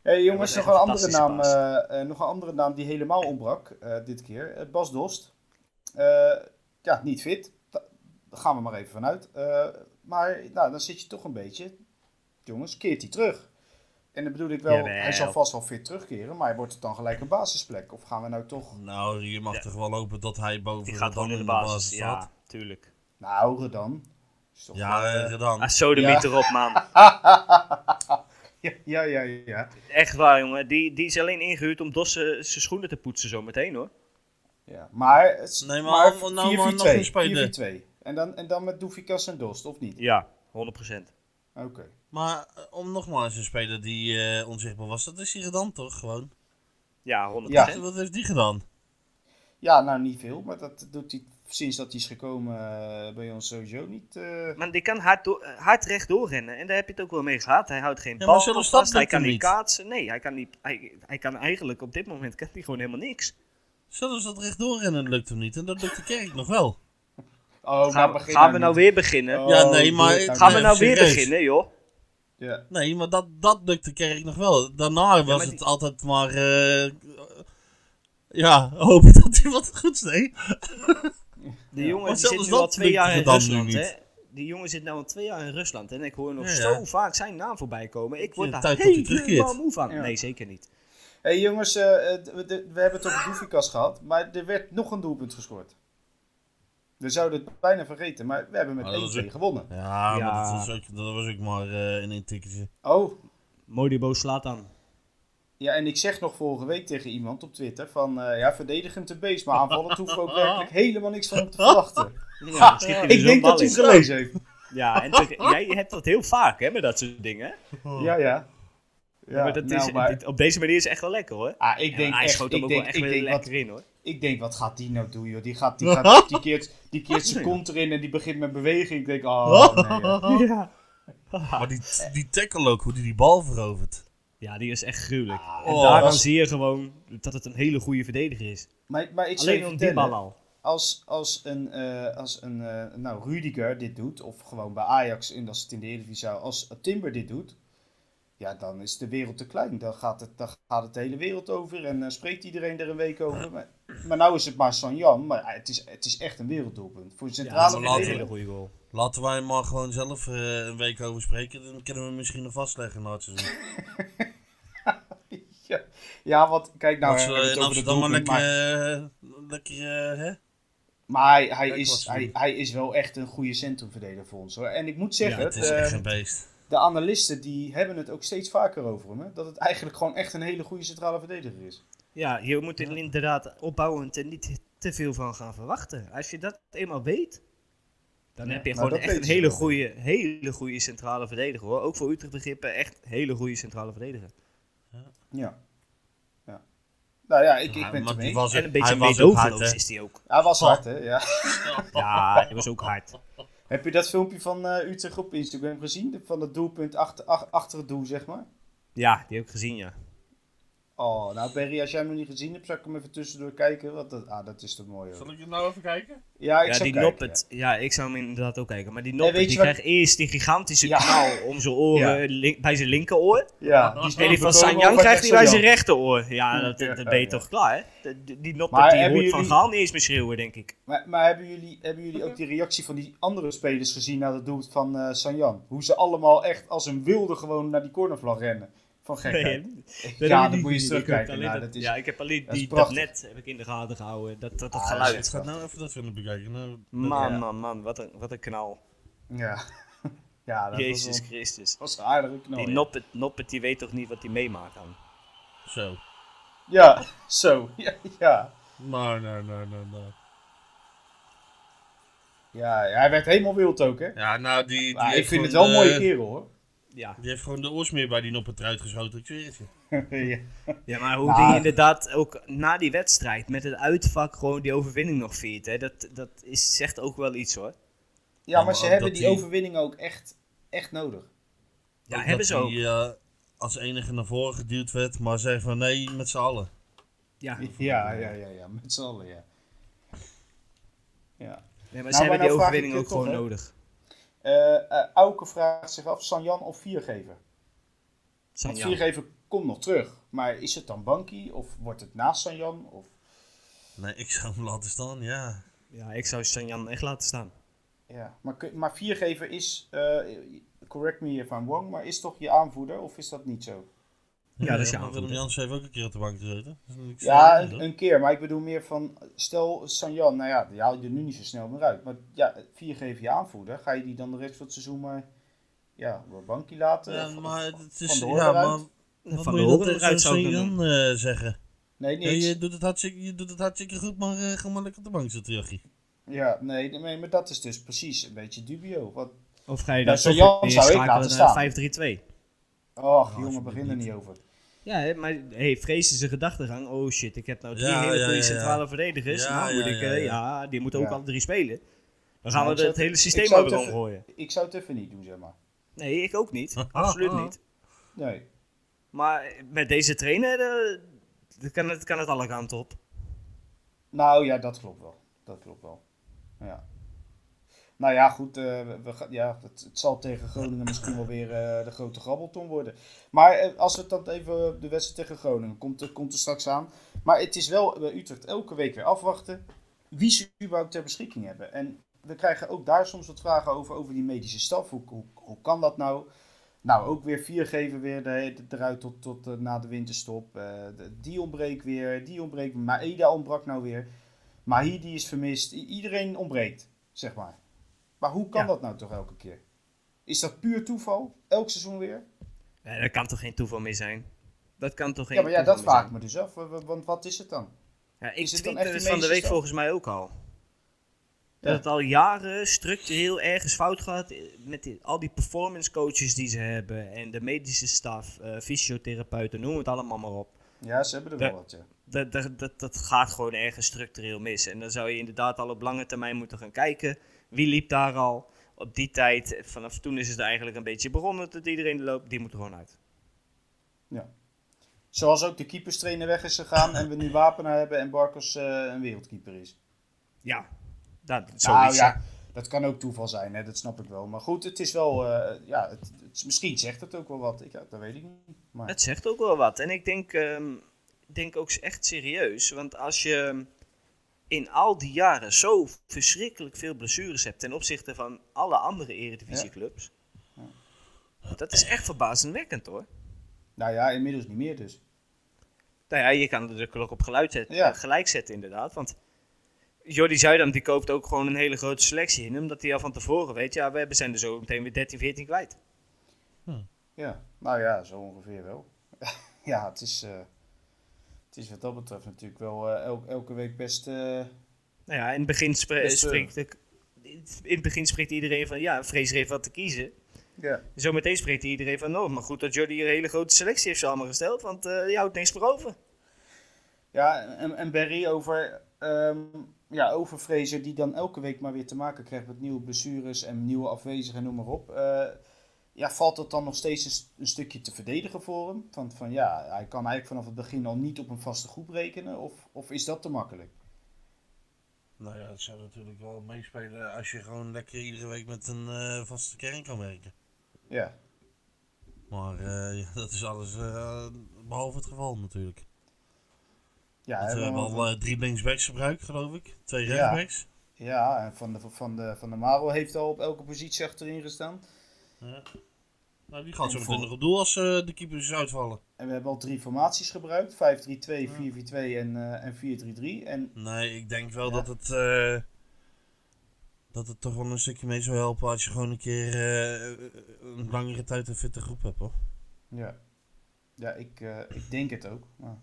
Speaker 1: Hey, jongens,
Speaker 3: Dat
Speaker 1: nog
Speaker 3: was
Speaker 1: een,
Speaker 3: echt
Speaker 1: andere
Speaker 3: een
Speaker 1: naam,
Speaker 3: fantastische
Speaker 1: eh, eh, nog een andere naam die helemaal ontbrak eh, dit keer. Eh, Bas Dost. Eh, ja, niet fit. Da- Daar gaan we maar even vanuit. Eh, maar nou, dan zit je toch een beetje. Jongens, keert hij terug. En dan bedoel ik wel,
Speaker 3: Jawel.
Speaker 1: hij zal vast wel fit terugkeren, maar wordt het dan gelijk een basisplek? Of gaan we nou toch...
Speaker 2: Nou, je mag
Speaker 3: Ja.
Speaker 2: toch wel hopen dat hij boven
Speaker 3: Die gaat
Speaker 2: Rodan
Speaker 3: gewoon in de basis.
Speaker 2: staat.
Speaker 3: Ja, tuurlijk.
Speaker 1: Nou, Redan. Is toch
Speaker 2: Ja,
Speaker 1: wel,
Speaker 2: eh,
Speaker 1: eh,
Speaker 2: Rodan.
Speaker 3: Ah, sodemiet erop, man.
Speaker 1: ja, ja, ja, ja.
Speaker 3: Echt waar, jongen. Die, die is alleen ingehuurd om Dos zijn schoenen te poetsen zometeen, hoor.
Speaker 1: ja. Maar, het is-
Speaker 2: Nee, maar
Speaker 1: maar,
Speaker 2: om- nou, maar nog
Speaker 1: 4-4-2,
Speaker 2: een speler.
Speaker 1: 4-4-2. En dan, en dan met Doefikas en Dost, of niet?
Speaker 3: Ja, 100%.
Speaker 1: Oké.
Speaker 2: Maar eh, om nogmaals een speler die eh, onzichtbaar was, dat is hij dan toch gewoon?
Speaker 3: Ja, 100%.
Speaker 1: Ja.
Speaker 2: Hè, Wat heeft die gedaan?
Speaker 1: Ja, nou niet veel, maar dat doet hij sinds dat hij is gekomen eh, bij ons sowieso niet. eh.
Speaker 3: Maar die kan hard, door, hard recht doorrennen. En daar heb je het ook wel mee gehad. Hij houdt geen
Speaker 2: Ja, maar
Speaker 3: bal
Speaker 2: zelfs
Speaker 3: vast.
Speaker 2: dat
Speaker 3: hij
Speaker 2: doet
Speaker 3: kan
Speaker 2: hij
Speaker 3: niet
Speaker 2: niet.
Speaker 3: kaatsen. Nee, hij kan, niet, hij, hij kan eigenlijk op dit moment kan hij gewoon helemaal niks.
Speaker 2: Zelfs dat rechtdoor rennen lukt hem niet en dat lukt de kerk nog wel.
Speaker 1: Oh,
Speaker 3: gaan,
Speaker 1: maar
Speaker 3: we-
Speaker 1: begin
Speaker 3: gaan we
Speaker 1: niet.
Speaker 3: nou weer beginnen?
Speaker 1: Oh,
Speaker 2: Ja, nee, maar- nou-
Speaker 1: doe het
Speaker 3: gaan
Speaker 1: niet.
Speaker 3: we
Speaker 2: nee,
Speaker 3: nou weer
Speaker 2: serieus.
Speaker 3: beginnen, joh?
Speaker 1: Ja.
Speaker 2: Nee, maar dat, dat lukte kerk nog wel. Daarna was
Speaker 3: maar
Speaker 2: het
Speaker 3: die-
Speaker 2: altijd maar. eh, ja, hopen dat iemand het goed deed.
Speaker 3: De
Speaker 1: Ja.
Speaker 3: jongen
Speaker 2: Maar
Speaker 3: die
Speaker 2: zelfs
Speaker 3: zit nu
Speaker 2: dat
Speaker 3: al twee
Speaker 2: lukt
Speaker 3: jaar in
Speaker 2: Rotterdam nu
Speaker 3: Rusland, hè?
Speaker 2: niet.
Speaker 3: Die jongen zit nu al twee jaar in Rusland en ik hoor nog
Speaker 2: Ja, ja.
Speaker 3: zo vaak zijn naam voorbij komen. Ik word
Speaker 2: Ja,
Speaker 3: daar
Speaker 2: tijd tot hij
Speaker 3: helemaal
Speaker 2: terugkeert.
Speaker 3: moe van.
Speaker 1: Ja.
Speaker 3: Nee, zeker niet.
Speaker 1: hey, jongens, eh, eh, d- we, d- we hebben het over Doefikas gehad, maar er werd nog een doelpunt gescoord. We zouden het bijna vergeten, maar we hebben met
Speaker 2: Maar dat was
Speaker 1: 1-2
Speaker 2: ook-
Speaker 1: gewonnen.
Speaker 2: Ja,
Speaker 3: Ja.
Speaker 2: maar dat was ook, dat was ook maar eh, een intikketje.
Speaker 1: Oh,
Speaker 3: Modibo slaat aan.
Speaker 1: Ja, en ik zeg nog vorige week tegen iemand op Twitter van eh, ja, verdedigend te beest, maar aanvallend hoeven we ook werkelijk helemaal niks van hem te verwachten.
Speaker 3: Ja, schiet hij er
Speaker 1: ik
Speaker 3: zo'n
Speaker 1: denk
Speaker 3: bal
Speaker 1: dat hij
Speaker 3: in.
Speaker 1: het gelezen heeft.
Speaker 3: Ja, en te- jij hebt dat heel vaak, hè, met dat soort dingen.
Speaker 1: Ja, ja. Ja,
Speaker 3: Oh. maar dat
Speaker 1: nou,
Speaker 3: is,
Speaker 1: maar-
Speaker 3: dit- op deze manier is echt wel lekker, hoor.
Speaker 1: ah, ik denk
Speaker 3: Ja, hij
Speaker 1: echt,
Speaker 3: schoot
Speaker 1: ik
Speaker 3: hem ook
Speaker 1: denk,
Speaker 3: wel echt
Speaker 1: ik
Speaker 3: wel
Speaker 1: denk,
Speaker 3: lekker
Speaker 1: wat,
Speaker 3: in, hoor.
Speaker 1: ik denk, wat gaat die nou doen, joh? Die, gaat, die, gaat, die keert, die keert zijn kont erin en die begint met beweging. Ik denk, oh, nee, ja.
Speaker 3: Ja.
Speaker 2: Maar die, die tackle ook, hoe die die bal verovert.
Speaker 3: ja, die is echt gruwelijk. en
Speaker 2: oh,
Speaker 3: daaraan
Speaker 1: was-
Speaker 3: zie je gewoon dat het een hele goede verdediger is.
Speaker 1: Maar, maar ik zal je
Speaker 3: Alleen om die
Speaker 1: vertellen,
Speaker 3: bal al.
Speaker 1: als, als een, eh, als een eh, nou, Rudiger dit doet, of gewoon bij Ajax, en als het in de Eredivisie zou, als Timber dit doet, ja, dan is de wereld te klein. Dan gaat het, dan gaat het de hele wereld over en eh, spreekt iedereen er een week over. Maar, maar nou is het maar Sanjan, maar eh, het, is, het is echt een werelddoelpunt. Voor de
Speaker 3: Ja,
Speaker 1: centrale
Speaker 3: dat is een
Speaker 2: laten we-
Speaker 1: verdediger.
Speaker 3: hele goede goal.
Speaker 2: Laten wij hem maar gewoon zelf eh, een week over spreken. Dan kunnen we hem misschien nog vastleggen na het seizoen.
Speaker 1: Ja, ja, want kijk nou,
Speaker 2: Dat
Speaker 1: we
Speaker 2: ze
Speaker 1: hebben
Speaker 2: in
Speaker 1: het over de
Speaker 2: Amsterdam maar
Speaker 1: doelpunt,
Speaker 2: lekker,
Speaker 1: maar,
Speaker 2: eh, lekker eh, hè?
Speaker 1: maar hij, hij,
Speaker 2: Kijk wat
Speaker 1: is,
Speaker 2: ze
Speaker 1: hij,
Speaker 2: doen.
Speaker 1: hij is wel echt een goede centrumverdediger voor ons. Hoor. En ik moet
Speaker 2: Ja,
Speaker 1: zeggen,
Speaker 2: het is
Speaker 1: eh,
Speaker 2: echt een beest.
Speaker 1: de analisten die hebben het ook steeds vaker over hem. Hè? Dat het eigenlijk gewoon echt een hele goede centrale verdediger is.
Speaker 3: Ja, je moet er inderdaad opbouwend en niet te veel van gaan verwachten. Als je dat eenmaal weet, dan
Speaker 1: Ja,
Speaker 3: heb je
Speaker 1: nou,
Speaker 3: gewoon
Speaker 1: dat
Speaker 3: echt een
Speaker 1: weten ze
Speaker 3: hele
Speaker 1: wel.
Speaker 3: goede, hele goede centrale verdediger hoor. Ook voor Utrecht begrippen echt hele goede centrale verdediger.
Speaker 1: Ja. ja. Nou ja, ik, ik
Speaker 2: Ja,
Speaker 1: ben het
Speaker 2: maar
Speaker 1: ermee
Speaker 2: die
Speaker 1: eens.
Speaker 2: was,
Speaker 3: En een
Speaker 2: hij
Speaker 3: beetje
Speaker 2: was ook hard,
Speaker 3: meedogenloos
Speaker 2: hè?
Speaker 3: is die ook.
Speaker 1: Hij was hard, hè? Ja.
Speaker 3: Ja, die was ook hard.
Speaker 1: Heb je dat filmpje van eh, Utrecht op Instagram gezien? Van het doelpunt achter, ach- achter het doel, zeg maar.
Speaker 3: Ja, die heb ik gezien ja.
Speaker 1: Oh, nou Berry, als jij hem nog niet gezien hebt, zou ik hem even tussendoor kijken. Want dat, ah, dat is te mooi, hoor.
Speaker 2: ik het nou even kijken?
Speaker 1: Ja, ik
Speaker 3: Ja,
Speaker 1: zou
Speaker 3: die
Speaker 1: kijken,
Speaker 3: Noppet. Ja, ik zou hem inderdaad ook kijken. Maar die
Speaker 1: weet
Speaker 3: Noppet,
Speaker 1: je
Speaker 3: die
Speaker 1: wat-
Speaker 3: krijgt eerst die gigantische
Speaker 1: Ja.
Speaker 3: knal om zijn oren, link- bij zijn linkeroor.
Speaker 1: Ja, Ja, die is
Speaker 3: En die van
Speaker 1: overkomen
Speaker 3: Sanjan
Speaker 1: over
Speaker 3: krijgt hij bij
Speaker 1: Sanjan.
Speaker 3: zijn rechteroor. Ja, dat,
Speaker 1: Ja,
Speaker 3: dat, dat ben je
Speaker 1: ja.
Speaker 3: toch klaar, hè? De- de- Die Noppet
Speaker 1: Maar
Speaker 3: die hoort
Speaker 1: hebben
Speaker 3: van
Speaker 1: jullie-
Speaker 3: Gaal niet eens meer schreeuwen, denk ik.
Speaker 1: Maar, maar hebben, jullie, hebben jullie ook die reactie van die andere spelers gezien na het doel van eh Sanjan? Hoe ze allemaal echt als een wilde gewoon naar die cornervlag rennen. Van gekheid. ja, dan moet je eens terugkijken. Nou, dat is...
Speaker 3: Ja, ik heb alleen
Speaker 1: dat is
Speaker 3: die, dat
Speaker 1: prachtig.
Speaker 3: net heb ik in de gaten gehouden. Dat, dat, dat
Speaker 1: Ah,
Speaker 3: geluid.
Speaker 1: dat
Speaker 2: Ik ga nou even dat filmpje bekijken. Nou,
Speaker 3: man,
Speaker 1: ja.
Speaker 3: man, man. Wat een, wat een knal.
Speaker 1: Ja. ja, dat was,
Speaker 3: Jezus
Speaker 1: wel-
Speaker 3: Christus.
Speaker 1: was een aardige knal.
Speaker 3: die
Speaker 1: ja.
Speaker 3: Noppet, Noppet, die weet toch niet wat hij meemaakt dan.
Speaker 2: zo.
Speaker 1: Ja, zo. Ja, ja.
Speaker 2: Nou, nou, nou, nou, nou.
Speaker 1: ja, hij werd helemaal wild ook, hè?
Speaker 2: Ja, nou, die, die
Speaker 1: Maar ik
Speaker 2: heeft
Speaker 1: vind het wel
Speaker 2: gewoon,
Speaker 1: een mooie
Speaker 2: eh,
Speaker 1: kerel, hoor.
Speaker 3: Ja.
Speaker 2: Die heeft gewoon de oorsmeer bij die noppen eruit geschoten, ik zweer het je.
Speaker 1: ja.
Speaker 3: ja, maar hoe
Speaker 1: Nou.
Speaker 3: die inderdaad ook na die wedstrijd met het uitvak gewoon die overwinning nog viert. Hè, dat dat is, zegt ook wel iets hoor.
Speaker 1: ja, maar
Speaker 2: maar
Speaker 1: ze
Speaker 2: ook
Speaker 1: hebben
Speaker 2: dat
Speaker 1: die
Speaker 2: hij-
Speaker 1: overwinning ook echt, echt nodig.
Speaker 3: Ja,
Speaker 2: Dat
Speaker 3: hebben ze ook.
Speaker 2: Die eh, als enige naar voren geduwd werd, maar zei van nee, met z'n allen.
Speaker 3: Ja, nee,
Speaker 1: Ja, ja, ja, ja. Met z'n allen, ja. Ja.
Speaker 3: maar
Speaker 1: maar
Speaker 3: ze hebben
Speaker 1: nou
Speaker 3: die
Speaker 1: vraag
Speaker 3: overwinning
Speaker 1: ik
Speaker 3: ook
Speaker 1: het toch,
Speaker 3: gewoon
Speaker 1: hè?
Speaker 3: nodig.
Speaker 1: Eh, eh, Auke vraagt zich af, Sanjan of Viergever? Want
Speaker 3: Sanjan.
Speaker 1: Viergever komt nog terug. Maar is het dan Banky? Of wordt het naast Sanjan? Of...
Speaker 2: Nee, ik zou hem laten staan, ja.
Speaker 3: Ja, ik zou Sanjan echt laten staan.
Speaker 1: Ja. Maar, kun- maar Viergever is, eh, correct me if I'm wrong, maar is toch je aanvoerder? Of is dat niet zo?
Speaker 3: Ja, dat is je
Speaker 2: maar Willem
Speaker 3: aanvoerder.
Speaker 2: Jans heeft ook een keer op de bank gezeten. Dus ik zou
Speaker 1: Ja,
Speaker 2: het
Speaker 1: een,
Speaker 2: doen.
Speaker 1: een keer. Maar ik bedoel meer van, stel Sanjan, nou ja, die haal je er nu niet zo snel meer uit. Maar ja, vier geven je aanvoerder. Ga je die dan de rest van het seizoen maar ja, door bankie laten?
Speaker 2: Ja,
Speaker 1: Of-
Speaker 2: maar
Speaker 1: of-
Speaker 2: het
Speaker 1: Van
Speaker 2: is...
Speaker 1: de
Speaker 2: Ja,
Speaker 1: Hoorn eruit?
Speaker 2: maar wat
Speaker 3: Van
Speaker 2: moet
Speaker 3: de
Speaker 2: je dat
Speaker 3: Hoorn
Speaker 2: tegen
Speaker 3: eruit zou ik
Speaker 2: zo'n
Speaker 3: dan doen.
Speaker 2: Jan eh, zeggen?
Speaker 1: nee,
Speaker 2: Nee,
Speaker 1: niks.
Speaker 2: je, doet het hartstikke, je doet het hartstikke goed, maar eh, ga maar lekker op de bank zitten, jochie.
Speaker 1: Ja, nee, nee, maar dat is dus precies een beetje dubio. Wat,
Speaker 3: Of ga je
Speaker 1: Nou,
Speaker 3: dan
Speaker 1: Sanjan
Speaker 3: toch weer
Speaker 1: zou ik laten staan.
Speaker 3: schakelen naar 5-3-2?
Speaker 1: och,
Speaker 2: Ja,
Speaker 1: jongen,
Speaker 2: alsjeblieft
Speaker 1: begin er
Speaker 2: niet.
Speaker 1: niet over.
Speaker 3: Ja, hè, maar hey, vrezen ze gedachtegang. Oh shit, ik heb nou drie
Speaker 2: Ja,
Speaker 3: hele
Speaker 2: ja,
Speaker 3: goede
Speaker 2: ja, ja.
Speaker 3: centrale verdedigers.
Speaker 2: Ja,
Speaker 3: nou moet
Speaker 2: ja,
Speaker 3: ik,
Speaker 2: ja,
Speaker 3: eh,
Speaker 2: ja.
Speaker 3: ja, die moeten ook
Speaker 1: Ja.
Speaker 3: alle drie spelen. Dan gaan
Speaker 1: Nou, ik
Speaker 3: we
Speaker 1: zou
Speaker 3: het
Speaker 1: het-
Speaker 3: hele
Speaker 1: ik
Speaker 3: systeem
Speaker 1: zou
Speaker 3: maar weer
Speaker 1: het even-
Speaker 3: omgooien.
Speaker 1: Ik zou het even niet doen, zeg maar.
Speaker 3: Nee, ik ook niet. Absoluut niet.
Speaker 1: Nee.
Speaker 3: Maar met deze trainer eh, dan kan, het, kan het alle kanten op.
Speaker 1: Nou ja, dat klopt wel. Dat klopt wel. Ja. Nou ja, goed, eh, we, we ga- ja, het, het zal tegen Groningen misschien wel weer eh, de grote grabbelton worden. Maar eh, als we het dan even, eh, de wedstrijd tegen Groningen, komt, er- komt er straks aan. Maar het is wel bij Utrecht elke week weer afwachten wie ze überhaupt ter beschikking hebben. En we krijgen ook daar soms wat vragen over, over die medische staf. Hoe, hoe, hoe kan dat nou? Nou, ook weer vier geven weer de, de- eruit tot, tot eh, na de winterstop. Eh, de- die ontbreekt weer, die ontbreekt. Maeda ontbrak nou weer. Mahidi is vermist. I- iedereen ontbreekt, zeg maar. Maar hoe kan
Speaker 3: Ja.
Speaker 1: dat nou toch elke keer? Is dat puur toeval? Elk seizoen weer?
Speaker 3: Nee, dat kan toch geen toeval meer zijn? Dat kan toch geen
Speaker 1: ja, maar ja,
Speaker 3: toeval
Speaker 1: dat
Speaker 3: meer
Speaker 1: vraag ik
Speaker 3: zijn?
Speaker 1: me dus af. Wa- wa- Want wat is het dan?
Speaker 3: Ja, ik
Speaker 1: Is het dan
Speaker 3: tweette
Speaker 1: echt
Speaker 3: het
Speaker 1: die
Speaker 3: van de week
Speaker 1: meesterstap?
Speaker 3: volgens mij ook al.
Speaker 1: Ja.
Speaker 3: Dat het al jaren structureel ergens fout gaat eh, met die- al die performance coaches die ze hebben. En de medische staf, eh, fysiotherapeuten, noem het allemaal maar op.
Speaker 1: Ja, ze hebben er
Speaker 3: Ja.
Speaker 1: wel wat, ja.
Speaker 3: Dat, dat, dat, dat gaat gewoon ergens structureel mis. En dan zou je inderdaad al op lange termijn moeten gaan kijken. Wie liep daar al? Op die tijd, vanaf toen is het eigenlijk een beetje begonnen dat iedereen loopt. Die moet er gewoon uit.
Speaker 1: Zoals ook de keeperstrainer weg is gegaan en we nu Wapenaar hebben en Barkos eh, een wereldkeeper is.
Speaker 3: Ja, dat,
Speaker 1: nou
Speaker 3: zoiets,
Speaker 1: ja, dat kan ook toeval zijn, hè, dat snap ik wel. Maar goed, het is wel, eh, ja, het, het is- misschien zegt het ook wel wat. Ik, ja, dat weet ik niet. Maar,
Speaker 3: Het zegt ook wel wat. En ik denk, ehm, ik denk ook echt serieus. Want als je in al die jaren zo verschrikkelijk veel blessures hebt ten opzichte van alle andere eredivisieclubs. Dat is echt verbazingwekkend hoor.
Speaker 1: nou ja, inmiddels niet meer dus.
Speaker 3: Nou ja, je kan er de klok op geluid zetten,
Speaker 1: Ja.
Speaker 3: gelijk zetten inderdaad. Want Jordi Zuidam die koopt ook gewoon een hele grote selectie in. Omdat hij al van tevoren weet, ja we hebben- zijn er zo meteen weer 13, 14 kwijt.
Speaker 1: Ja, nou ja, zo ongeveer wel. ja, het is, eh, het is wat dat betreft natuurlijk wel eh, el- elke week best... eh,
Speaker 3: Nou ja, in het begin, spre-
Speaker 1: Dus, eh,
Speaker 3: spreekt, ik- in het begin spreekt iedereen van, ja Vrees heeft wat te kiezen.
Speaker 1: ja.
Speaker 3: Zometeen spreekt iedereen van, oh, maar goed dat jullie hier een hele grote selectie heeft samengesteld, want eh je houdt niks meer over.
Speaker 1: Ja, en, en Barry over, ehm ja, over Fraser, die dan elke week maar weer te maken krijgt met nieuwe blessures en nieuwe afwezigen, noem maar op. Eh, ja, valt dat dan nog steeds een, st- een stukje te verdedigen voor hem? Van, van ja, hij kan eigenlijk vanaf het begin al niet op een vaste groep rekenen, of, of is dat te makkelijk?
Speaker 2: Nou ja, het zou natuurlijk wel meespelen als je gewoon lekker iedere week met een eh, vaste kern kan werken.
Speaker 1: Ja,
Speaker 2: Maar eh, ja, dat is alles eh, behalve het geval natuurlijk.
Speaker 1: ja,
Speaker 2: Want
Speaker 1: hè,
Speaker 2: we hebben
Speaker 1: want-
Speaker 2: al eh, drie linksbacks gebruikt, geloof ik. Twee
Speaker 1: Ja.
Speaker 2: rechtsbacks.
Speaker 1: ja en van, de, van, de, van de Maro heeft al op elke positie achterin gestaan.
Speaker 2: Ja. Nou, die gaat
Speaker 1: En
Speaker 2: zo
Speaker 1: voor-
Speaker 2: meteen nog op doel als eh, de keepers uitvallen.
Speaker 1: En we hebben al drie formaties gebruikt, 5-3-2, 4-4-2 en, eh en 4-3-3. En
Speaker 2: Nee, ik denk wel
Speaker 1: Ja.
Speaker 2: dat het. eh, dat het toch wel een stukje mee zou helpen als je gewoon een keer eh, een langere tijd een fitte groep hebt hoor.
Speaker 1: Ja, ja ik, eh, ik denk het ook. Maar...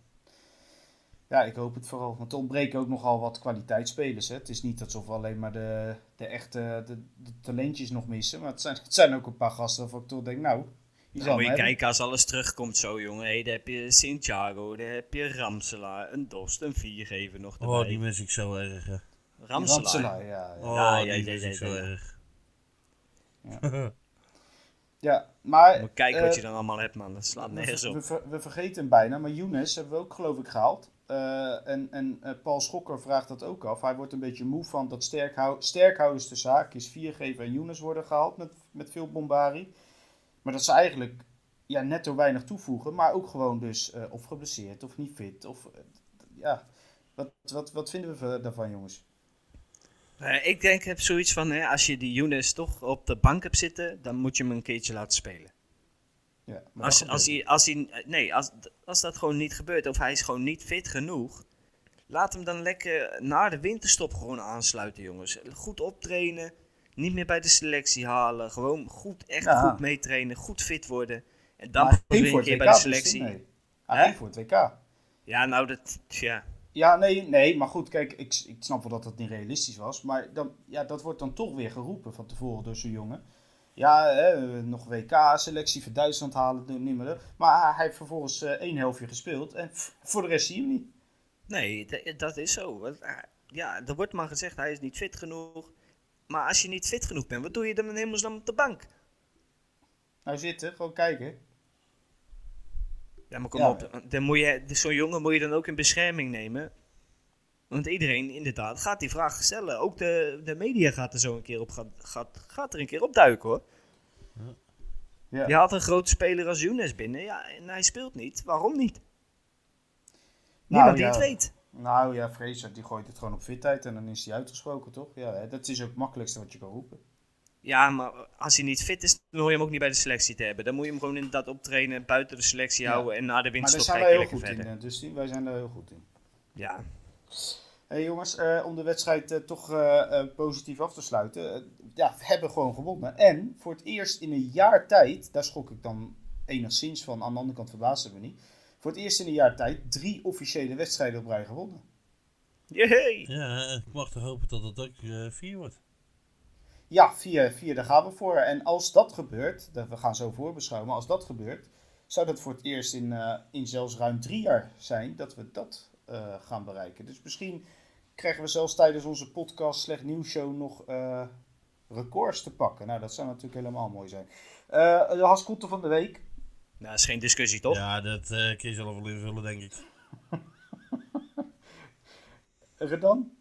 Speaker 1: Ja, ik hoop het vooral. Want er ontbreken ook nogal wat kwaliteitsspelers. Hè? Het is niet alsof we alleen maar de, de echte de, de talentjes nog missen. Maar het zijn, het zijn ook een paar gasten waarvan ik toch denk, nou, die zal
Speaker 3: moet je
Speaker 1: maar hebben.
Speaker 3: kijken als alles terugkomt zo, jongen. Hey, daar heb je Santiago, daar heb je Ramselaar, een Dost, een Viergever nog erbij.
Speaker 2: Oh, die mis ik zo erg. Hè.
Speaker 1: Die
Speaker 3: Ramselaar.
Speaker 1: Ramselaar, ja, ja.
Speaker 2: Oh,
Speaker 3: Ja,
Speaker 2: die
Speaker 3: ja, ja,
Speaker 2: mis
Speaker 3: ja,
Speaker 2: ik zo
Speaker 3: ja, ja.
Speaker 2: erg.
Speaker 1: Ja.
Speaker 2: Ja.
Speaker 1: Ja, maar...
Speaker 3: Moet kijken wat
Speaker 1: eh,
Speaker 3: je dan allemaal hebt, man. Dat slaat
Speaker 1: we,
Speaker 3: nergens
Speaker 1: ver-
Speaker 3: op.
Speaker 1: we ver- we vergeten hem bijna, maar Younes hebben we ook geloof ik gehaald. Eh, en en eh, Paul Schokker vraagt dat ook af. Hij wordt een beetje moe van dat sterkhou- sterkhouders de zaak is. Viergever en Younes worden gehaald met, met veel bombari. Maar dat ze eigenlijk ja, netto weinig toevoegen. Maar ook gewoon dus eh, of geblesseerd of niet fit. Of, eh, d- ja. wat, wat, wat vinden we ver- daarvan jongens?
Speaker 3: Eh, ik denk, ik heb zoiets van, hè, als je die Younes toch op de bank hebt zitten, dan moet je hem een keertje laten spelen.
Speaker 1: Ja, maar dat
Speaker 3: Als,
Speaker 1: gebeurt
Speaker 3: als,
Speaker 1: niet.
Speaker 3: hij, als, hij, nee, als, als dat gewoon niet gebeurt of hij is gewoon niet fit genoeg, laat hem dan lekker na de winterstop gewoon aansluiten, jongens. Goed optrainen, niet meer bij de selectie halen, gewoon goed, echt
Speaker 1: Ja.
Speaker 3: goed meetrainen, goed fit worden. En dan
Speaker 1: Maar hij
Speaker 3: pas
Speaker 1: ging
Speaker 3: weer een keer bij de
Speaker 1: dus niet
Speaker 3: selectie.
Speaker 1: mee. Hij
Speaker 3: Hè?
Speaker 1: ging voor het WK.
Speaker 3: Ja, nou, dat, tja.
Speaker 1: Ja, nee, nee, maar goed, kijk, ik, ik snap wel dat dat niet realistisch was. Maar dan, ja, dat wordt dan toch weer geroepen van tevoren door zo'n jongen. Ja, hè, nog WK-selectie voor Duitsland halen, doe- niet meer. dat. Maar hij heeft vervolgens eh, één helftje gespeeld en pff, voor de rest zie je hem niet.
Speaker 3: Nee, d- dat is zo. Want, eh, Ja, er wordt maar gezegd, hij is niet fit genoeg. Maar als je niet fit genoeg bent, wat doe je dan in hemelsnaam op de bank?
Speaker 1: Nou zitten, gewoon kijken.
Speaker 3: Ja, maar kom
Speaker 1: Ja,
Speaker 3: op. Dan moet je, dus zo'n jongen moet je dan ook in bescherming nemen. Want iedereen inderdaad gaat die vraag stellen. Ook de, de media gaat er zo een keer op gaat, gaat, gaat er een keer op duiken hoor.
Speaker 1: Ja.
Speaker 3: Je haalt een grote speler als Younes binnen. Ja, en hij speelt niet. Waarom niet? Niemand die
Speaker 1: Nou ja.
Speaker 3: het weet.
Speaker 1: Nou ja, Fraser die gooit het gewoon op fitheid en dan is hij uitgesproken, toch? Ja, hè, dat is ook het makkelijkste wat je kan roepen.
Speaker 3: Ja, maar als hij niet fit is, dan hoor je hem ook niet bij de selectie te hebben. Dan moet je hem gewoon inderdaad optrainen, buiten de selectie
Speaker 1: Ja.
Speaker 3: houden en na de
Speaker 1: Maar daar
Speaker 3: winst
Speaker 1: zijn wij heel
Speaker 3: lekker
Speaker 1: goed
Speaker 3: verder.
Speaker 1: in, eh, Dusty. Wij zijn daar heel goed in.
Speaker 3: Ja,
Speaker 1: hey jongens, eh, om de wedstrijd eh, toch eh, eh, positief af te sluiten. eh, ja, we hebben gewoon gewonnen. En voor het eerst in een jaar tijd, daar schok ik dan enigszins van, aan de andere kant verbaasde me niet. Voor het eerst in een jaar tijd drie officiële wedstrijden op rij gewonnen.
Speaker 3: Jee!
Speaker 2: Ja, ik mag toch hopen dat het ook eh vier wordt.
Speaker 1: Ja, vier, vier, daar gaan we voor. En als dat gebeurt, dat we gaan zo voorbeschouwen, maar als dat gebeurt, zou dat voor het eerst in, eh, in zelfs ruim drie jaar zijn dat we dat eh, gaan bereiken. Dus misschien krijgen we zelfs tijdens onze podcast Slecht Nieuws Show nog eh, records te pakken. Nou, dat zou natuurlijk helemaal mooi zijn. Eh, de haskoeten van de week.
Speaker 3: Nou, is geen discussie toch?
Speaker 2: Ja, dat eh kun je zelf wel invullen, denk ik.
Speaker 1: Redan?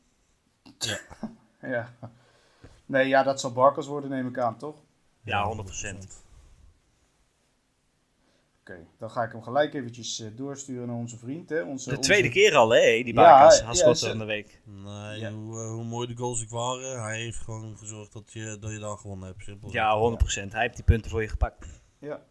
Speaker 2: Ja.
Speaker 1: ja. Nee, ja, dat zal Barkers worden, neem ik aan, toch?
Speaker 3: Ja, 100%.
Speaker 1: Oké, dan ga ik hem gelijk eventjes eh, doorsturen naar onze vriend. Hè? Onze,
Speaker 3: De tweede
Speaker 1: onze-
Speaker 3: keer al, hè, die
Speaker 1: Ja,
Speaker 3: Barkas.
Speaker 1: ja,
Speaker 3: Ja, Haskot
Speaker 1: ze-
Speaker 3: van de week.
Speaker 2: Nee,
Speaker 1: Ja.
Speaker 2: hoe, eh, hoe mooi de goals ook waren, hij heeft gewoon gezorgd dat je, dat je daar gewonnen hebt. Simpel.
Speaker 3: Ja, 100%. Hij heeft die punten voor je gepakt.
Speaker 1: Ja.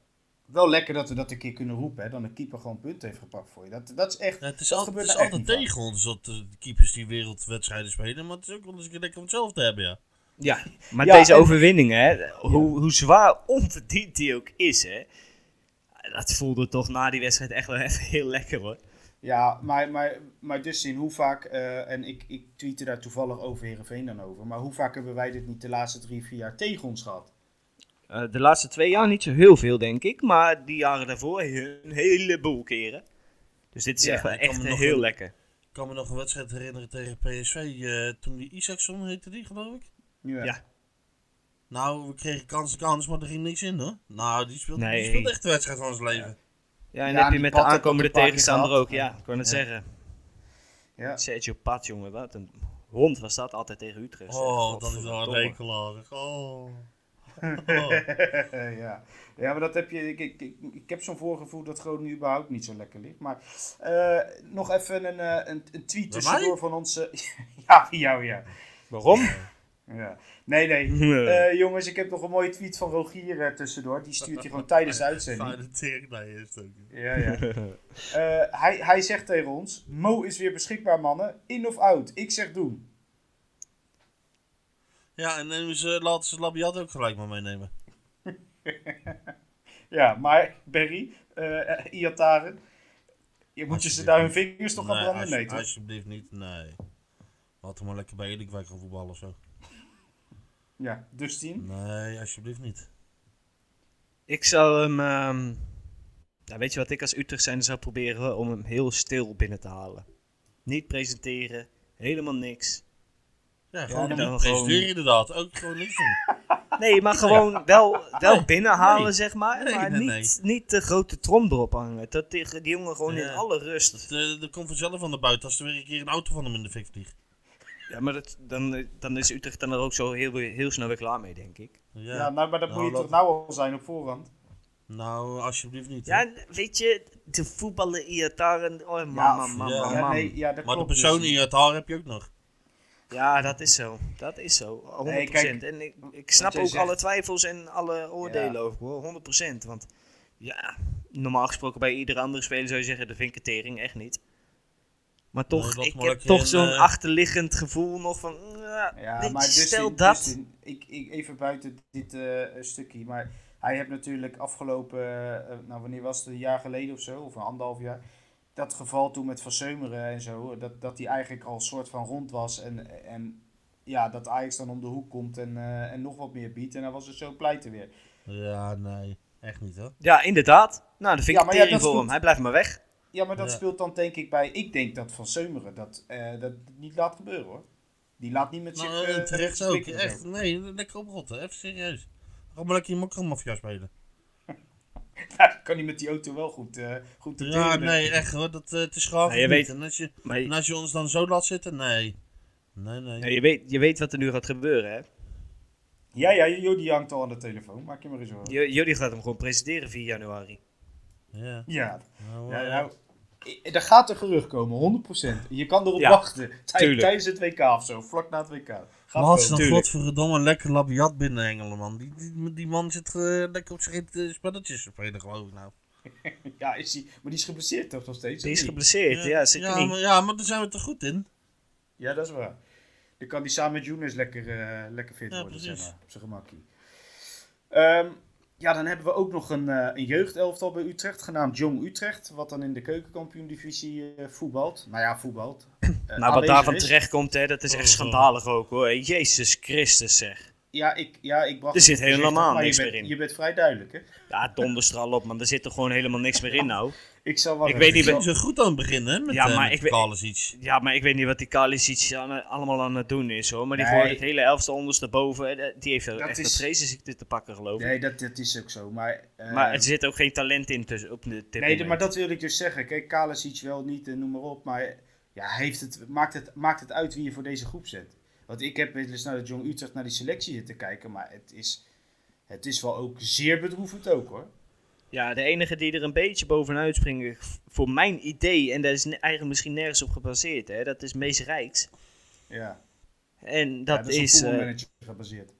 Speaker 1: Wel lekker dat we dat een keer kunnen roepen, hè? Dan de keeper gewoon punten heeft gepakt voor je. Dat, dat is echt.
Speaker 2: Ja, het is,
Speaker 1: dat
Speaker 2: al-
Speaker 1: gebeurt
Speaker 2: het is
Speaker 1: nou echt
Speaker 2: altijd
Speaker 1: niet
Speaker 2: tegen ons dat eh, de keepers die wereldwedstrijden spelen, maar het is ook wel eens een keer lekker om het zelf te hebben, ja.
Speaker 3: Ja, maar
Speaker 1: Ja,
Speaker 3: deze
Speaker 1: en-
Speaker 3: overwinning, hè, hoe, hoe zwaar onverdiend die ook is, hè. Dat voelde toch na die wedstrijd echt wel even heel lekker, hoor.
Speaker 1: Ja, maar, maar, maar dus in hoe vaak, eh, en ik, ik tweette daar toevallig over Herenveen dan over, maar hoe vaak hebben wij dit niet de laatste drie, vier jaar tegen ons gehad?
Speaker 3: Eh, de laatste twee jaar niet zo heel veel, denk ik. Maar die jaren daarvoor he- een heleboel keren. Dus dit is
Speaker 1: Ja,
Speaker 3: echt, wel
Speaker 2: ik kan
Speaker 3: echt
Speaker 2: me nog
Speaker 3: heel
Speaker 2: een-
Speaker 3: lekker.
Speaker 2: Ik kan me nog een wedstrijd herinneren tegen PSV, eh, toen die Isaacson heette die, geloof ik.
Speaker 1: Ja.
Speaker 3: Ja.
Speaker 2: Nou, we kregen kans kans, maar er ging niks in, hoor. Nou, die speelt,
Speaker 3: Nee.
Speaker 2: die speelt echt de wedstrijd van zijn leven.
Speaker 3: Ja,
Speaker 1: Ja,
Speaker 3: en dan heb
Speaker 1: die
Speaker 3: je met de
Speaker 1: Pat heb ik
Speaker 3: aankomende
Speaker 1: ook een paar
Speaker 3: tegenstander
Speaker 1: keer
Speaker 3: ook.
Speaker 1: gehad.
Speaker 3: Ja, ik kan het
Speaker 1: Ja.
Speaker 3: zeggen.
Speaker 1: Ja.
Speaker 3: Sergio Pat, jongen, wat een hond was dat altijd tegen Utrecht. zeg.
Speaker 2: Oh, dat is wel Oh. een
Speaker 3: Godverdomme.
Speaker 2: rekelarig. Oh.
Speaker 1: ja. ja, maar dat heb je. Ik, ik, ik, ik heb zo'n voorgevoel dat Groningen überhaupt niet zo lekker ligt. Maar eh, nog even een, eh, een, een tweet
Speaker 2: Bij
Speaker 1: tussendoor
Speaker 2: mij?
Speaker 1: van onze. ja, van jou, ja.
Speaker 3: Waarom?
Speaker 1: ja. Nee, nee.
Speaker 3: Nee.
Speaker 1: Eh, jongens, ik heb nog een mooie tweet van Rogier eh, tussendoor. Die stuurt hij gewoon tijdens de uitzending.
Speaker 2: Fijne tering naar je is het ook.
Speaker 1: Ja, ja. Eh, hij, hij zegt tegen ons: Mo is weer beschikbaar, mannen. In of out? Ik zeg doen.
Speaker 2: Ja, en nemen ze, laten ze Labiat ook gelijk maar meenemen.
Speaker 1: Ja, maar Berry, eh eh, Iataren. Je moet je ze daar hun vingers toch aan branden?
Speaker 2: als-
Speaker 1: Nee, toch?
Speaker 2: alsjeblieft niet, nee. Laat hem maar lekker bij Edekwijk gaan voetballen of zo.
Speaker 1: Ja, dus Dustin.
Speaker 2: Nee, alsjeblieft niet.
Speaker 3: Ik zou hem. ehm, ja, weet je wat ik als Utrecht zijn zou proberen? Om hem heel stil binnen te halen. Niet presenteren, helemaal niks.
Speaker 2: Ja, gewoon
Speaker 1: dan
Speaker 3: gewoon-
Speaker 2: niet presteren inderdaad. Ook gewoon niks doen.
Speaker 3: Nee, maar gewoon wel, wel
Speaker 2: Nee,
Speaker 3: binnenhalen,
Speaker 2: nee.
Speaker 3: zeg maar.
Speaker 2: Nee,
Speaker 3: maar
Speaker 2: nee,
Speaker 3: niet, niet de grote trom erop hangen. Dat tegen die jongen gewoon in
Speaker 2: Ja.
Speaker 3: alle rust.
Speaker 2: Dat, eh, dat komt vanzelf van de buiten als er weer een keer een auto van hem in de fik vliegt.
Speaker 3: Ja, maar dat, dan, eh, dan is Utrecht dan er ook zo heel, heel snel weer klaar mee, denk ik.
Speaker 1: Ja, nou, maar dat
Speaker 2: Nou,
Speaker 1: moet je
Speaker 2: laat-
Speaker 1: toch nou al zijn op voorhand?
Speaker 2: Nou, alsjeblieft niet. hè.
Speaker 3: Ja, en weet je, de voetballen Iataren. Oh, man,
Speaker 1: Ja,
Speaker 3: man, man,
Speaker 2: ja.
Speaker 3: man,
Speaker 1: ja,
Speaker 3: man.
Speaker 1: nee, ja, dat
Speaker 2: maar de
Speaker 1: klopt, dus.
Speaker 2: persoon
Speaker 1: Dustin.
Speaker 2: in het haar heb je ook nog.
Speaker 3: Ja, dat is zo. Dat is zo. 100%.
Speaker 1: Nee, kijk,
Speaker 3: en ik, ik snap
Speaker 1: jij
Speaker 3: ook
Speaker 1: zegt-
Speaker 3: alle twijfels en alle oordelen
Speaker 1: Ja.
Speaker 3: over. Hoor. 100%. Want ja, normaal gesproken bij iedere andere speler zou je zeggen: de vinketering echt niet. Maar toch,
Speaker 2: Nee, dat
Speaker 3: ik
Speaker 2: maar
Speaker 3: heb
Speaker 2: lekker
Speaker 3: toch
Speaker 2: in,
Speaker 3: zo'n
Speaker 2: eh,
Speaker 3: achterliggend gevoel nog van. ja,
Speaker 1: Ja,
Speaker 3: weet
Speaker 1: maar dus
Speaker 3: je,
Speaker 1: Dustin,
Speaker 3: stel dat.
Speaker 1: Dustin, ik, ik, even buiten dit eh, stukje, maar hij heeft natuurlijk afgelopen, eh, nou wanneer was het, een jaar geleden of zo, of een anderhalf jaar, dat geval toen met Van Seumeren en zo, dat, dat hij eigenlijk al soort van rond was en, en ja, dat Ajax dan om de hoek komt en, eh, en nog wat meer biedt en dan was het zo pleiten weer.
Speaker 2: Ja, nee. Echt niet hoor.
Speaker 3: Ja, inderdaad. Nou, de
Speaker 1: Ja, maar ja,
Speaker 3: vinketering
Speaker 1: dat
Speaker 3: voor
Speaker 1: doet-
Speaker 3: hem. Hij blijft maar weg.
Speaker 1: Ja, maar dat
Speaker 2: Ja.
Speaker 1: speelt dan denk ik bij, ik denk dat Van Seumeren dat, eh, dat niet laat gebeuren hoor. Die laat niet met
Speaker 3: Dus
Speaker 1: zich...
Speaker 2: Nou,
Speaker 1: eh,
Speaker 2: en terecht ook.
Speaker 1: spikken en zo.
Speaker 2: Echt, nee, lekker oprotten. Even serieus. Ga maar lekker je mokkermafia spelen.
Speaker 1: Nou, dat kan hij met die auto wel goed, eh goed te
Speaker 2: Ja,
Speaker 1: doen.
Speaker 2: nee, echt hoor. Dat, eh, het is gewoon
Speaker 3: Nou, je
Speaker 2: niet.
Speaker 3: weet-
Speaker 2: En, als je,
Speaker 3: Maar
Speaker 2: en als je ons dan zo laat zitten, nee. Nee, nee.
Speaker 3: je, weet, je weet wat er nu gaat gebeuren, hè?
Speaker 1: Ja, ja, Jody hangt al aan de telefoon. Maak je maar eens hoor.
Speaker 3: J- Jullie gaat hem gewoon presenteren 4 januari.
Speaker 2: Ja.
Speaker 1: Ja,
Speaker 2: Nou,
Speaker 1: ja
Speaker 2: eh,
Speaker 1: nou, i- er gaat een gerucht komen, 100%. Je kan erop
Speaker 3: Ja,
Speaker 1: wachten. Tij-
Speaker 3: tuurlijk.
Speaker 1: Tijdens het WK of zo, vlak na het WK. Gaat
Speaker 2: Maar had ze
Speaker 1: komen.
Speaker 2: dan
Speaker 3: tuurlijk.
Speaker 2: godverdomme een lekker labiat binnenhengelen, man. Die, die, die man zit eh, lekker op zijn uh, spelletjes te spelen, geloof ik nou.
Speaker 1: Ja, is die, maar die is geblesseerd toch nog steeds?
Speaker 3: Die
Speaker 1: of
Speaker 3: is
Speaker 1: niet?
Speaker 3: geblesseerd, ja, zeker niet.
Speaker 2: maar, ja, maar daar zijn we toch goed in?
Speaker 1: Ja, dat is waar. Dan kan die samen met Younes lekker, eh, lekker fit
Speaker 2: Ja,
Speaker 1: worden, zeg
Speaker 2: precies.
Speaker 1: maar, op zijn gemakkie. Ehm, ja, dan hebben we ook nog een, eh, een jeugdelftal bij Utrecht, genaamd Jong Utrecht, wat dan in de keukenkampioen-divisie eh, voetbalt. Nou ja, voetbalt. Eh,
Speaker 3: Nou, wat
Speaker 1: aanwezig
Speaker 3: daarvan
Speaker 1: is.
Speaker 3: terechtkomt, hè, dat is echt
Speaker 2: Oh.
Speaker 3: schandalig ook, hoor. Jezus Christus, zeg.
Speaker 1: Ja, ik, ja, ik bracht
Speaker 3: Er zit
Speaker 1: het voorzichtig,
Speaker 3: helemaal
Speaker 1: maar je
Speaker 3: niks
Speaker 1: bent-
Speaker 3: meer in.
Speaker 1: Je bent vrij duidelijk, hè?
Speaker 3: Ja, donderstral op, man. Er zit er gewoon helemaal niks meer in, nou.
Speaker 1: Ik zal wel
Speaker 3: Ik
Speaker 1: even-
Speaker 3: weet niet
Speaker 1: zal-
Speaker 2: Ging zo goed aan het begin, hè? Met,
Speaker 3: Ja,
Speaker 2: eh,
Speaker 3: maar
Speaker 2: met
Speaker 3: ik weet-
Speaker 2: alles iets.
Speaker 3: Ja, maar ik weet niet wat die Kalisic aan- allemaal aan het doen is, hoor. Maar die
Speaker 1: Nee.
Speaker 3: gooit het hele elftal ondersteboven. Eh, Die heeft echt
Speaker 1: is-
Speaker 3: een vreesziekte te pakken, geloof ik.
Speaker 1: Nee, dat, dat is ook zo, maar... eh,
Speaker 3: maar er zit ook geen talent in tussen, op de tip
Speaker 1: Nee, de- maar dat wil ik dus zeggen. Kijk, Kalasic wel niet, en noem maar op. Maar ja, heeft het, maakt, het, maakt het uit wie je voor deze groep zet. Want ik heb wel eens naar de Jong Utrecht naar die selectie zitten kijken. Maar het is, het is wel ook zeer bedroevend ook hoor.
Speaker 3: Ja, de enige die er een beetje bovenuit springen, voor mijn idee, en daar is ne- eigenlijk misschien nergens op gebaseerd, hè, dat is Mees Rijks.
Speaker 1: Ja,
Speaker 3: En
Speaker 1: Ja,
Speaker 3: dat, is.
Speaker 1: op
Speaker 3: eh,
Speaker 1: voetbalmanager gebaseerd.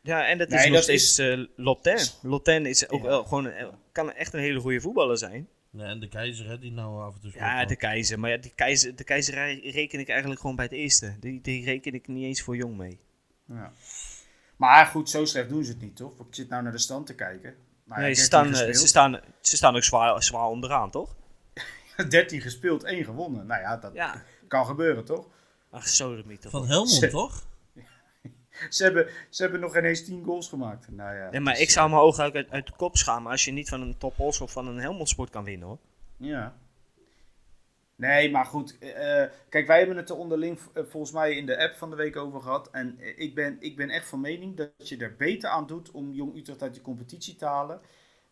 Speaker 3: ja, en dat
Speaker 1: Nee,
Speaker 3: is nog
Speaker 1: dat
Speaker 3: steeds eh Lotten. Lotten is ook
Speaker 1: Ja.
Speaker 3: wel gewoon een, kan echt een hele goede voetballer zijn.
Speaker 2: Nee, en de keizer, hè, die nou af en toe speelt.
Speaker 3: Ja,
Speaker 2: dan.
Speaker 3: de keizer. Maar ja, die keizer, de keizer re- reken ik eigenlijk gewoon bij het eerste. Die, die reken ik niet eens voor jong
Speaker 1: Ah,
Speaker 3: mee.
Speaker 1: Ja. Maar goed, zo slecht doen ze het niet, toch? Ik zit nou naar de stand te kijken. Nou, ja,
Speaker 3: nee, ze
Speaker 1: 13
Speaker 3: staan, eh,
Speaker 1: gespeeld.
Speaker 3: ze, staan, ze staan ook zwaar, zwaar onderaan, toch?
Speaker 1: 13 gespeeld, 1 gewonnen. Nou ja, dat
Speaker 3: Ja.
Speaker 1: kan gebeuren, toch?
Speaker 3: Ach, zo de mythe.
Speaker 2: Van
Speaker 1: Ze-
Speaker 2: Helmond, toch?
Speaker 1: Ze hebben, ze hebben nog ineens 10 goals gemaakt. Nou ja,
Speaker 3: Nee, maar
Speaker 1: dus,
Speaker 3: ik zou me hooguit uit, uit de kop schamen als je niet van een Top Os of van een Helmond Sport kan winnen, hoor.
Speaker 1: Ja. Nee, maar goed. eh, eh, kijk, wij hebben het er onderling eh, volgens mij in de app van de week over gehad. En eh, ik, ben, ik ben echt van mening dat je er beter aan doet om Jong Utrecht uit de competitie te halen.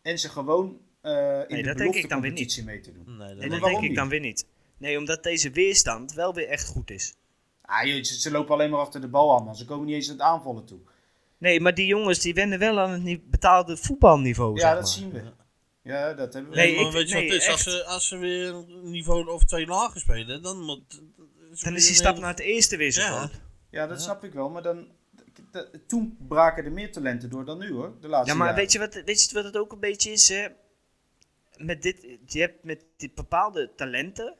Speaker 1: En ze gewoon eh, in
Speaker 3: Nee,
Speaker 1: de
Speaker 3: dat denk ik dan weer
Speaker 1: beloftecompetitie mee te doen.
Speaker 2: Nee, dat
Speaker 3: En
Speaker 1: maar
Speaker 3: dat
Speaker 2: weet
Speaker 1: waarom
Speaker 3: denk ik dan weer niet. Nee, omdat deze weerstand wel weer echt goed is.
Speaker 1: Ah, joh, ze, ze lopen alleen maar achter de bal aan, man. Ze komen niet eens aan het aanvallen toe.
Speaker 3: Nee, maar die jongens die wennen wel aan het ni- betaalde voetbalniveau,
Speaker 1: ja,
Speaker 3: zeg
Speaker 1: dat
Speaker 3: maar.
Speaker 1: zien we. Ja, dat hebben we.
Speaker 3: Nee,
Speaker 2: Nee, maar
Speaker 3: ik-
Speaker 2: eh, weet je
Speaker 3: nee,
Speaker 2: wat het is? Als
Speaker 3: echt.
Speaker 2: ze, als ze weer een niveau of twee lager spelen, dan moet...
Speaker 3: Dan
Speaker 2: weer
Speaker 3: is die
Speaker 2: een
Speaker 3: stap
Speaker 2: heel-
Speaker 3: naar het eerste weer zo
Speaker 2: Ja.
Speaker 3: groot.
Speaker 1: Ja, dat
Speaker 2: Ja.
Speaker 1: snap ik wel. Maar dan, dat- toen braken er meer talenten door dan nu, hoor. De laatste
Speaker 3: Ja, maar
Speaker 1: jaren.
Speaker 3: weet je, wat, weet je wat het ook een beetje is? Hè? Met dit, je hebt met die bepaalde talenten.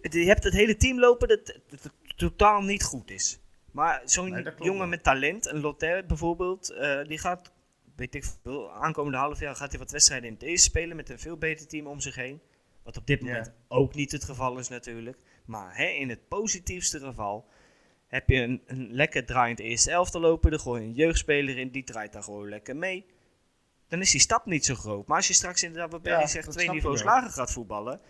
Speaker 3: het- Je hebt het hele team lopen dat, dat het totaal niet goed is. Maar zo'n
Speaker 1: Nee, dat klopt
Speaker 3: jongen
Speaker 1: wel.
Speaker 3: met talent, een Lotte bijvoorbeeld, eh, die gaat, weet ik veel, aankomende half jaar gaat hij wat wedstrijden in het eerste spelen met een veel beter team om zich heen. Wat op dit
Speaker 1: Ja.
Speaker 3: moment ook niet het geval is natuurlijk. Maar hè, in het positiefste geval heb je een, een lekker draaiend E eerste elftal lopen. Dan gooi je een jeugdspeler in, die draait daar gewoon lekker mee. Dan is die stap niet zo groot. Maar als je straks inderdaad, wat Berry
Speaker 1: Ja,
Speaker 3: zegt,
Speaker 1: dat
Speaker 3: twee
Speaker 1: snap ik
Speaker 3: niveaus
Speaker 1: wel.
Speaker 3: lager gaat voetballen.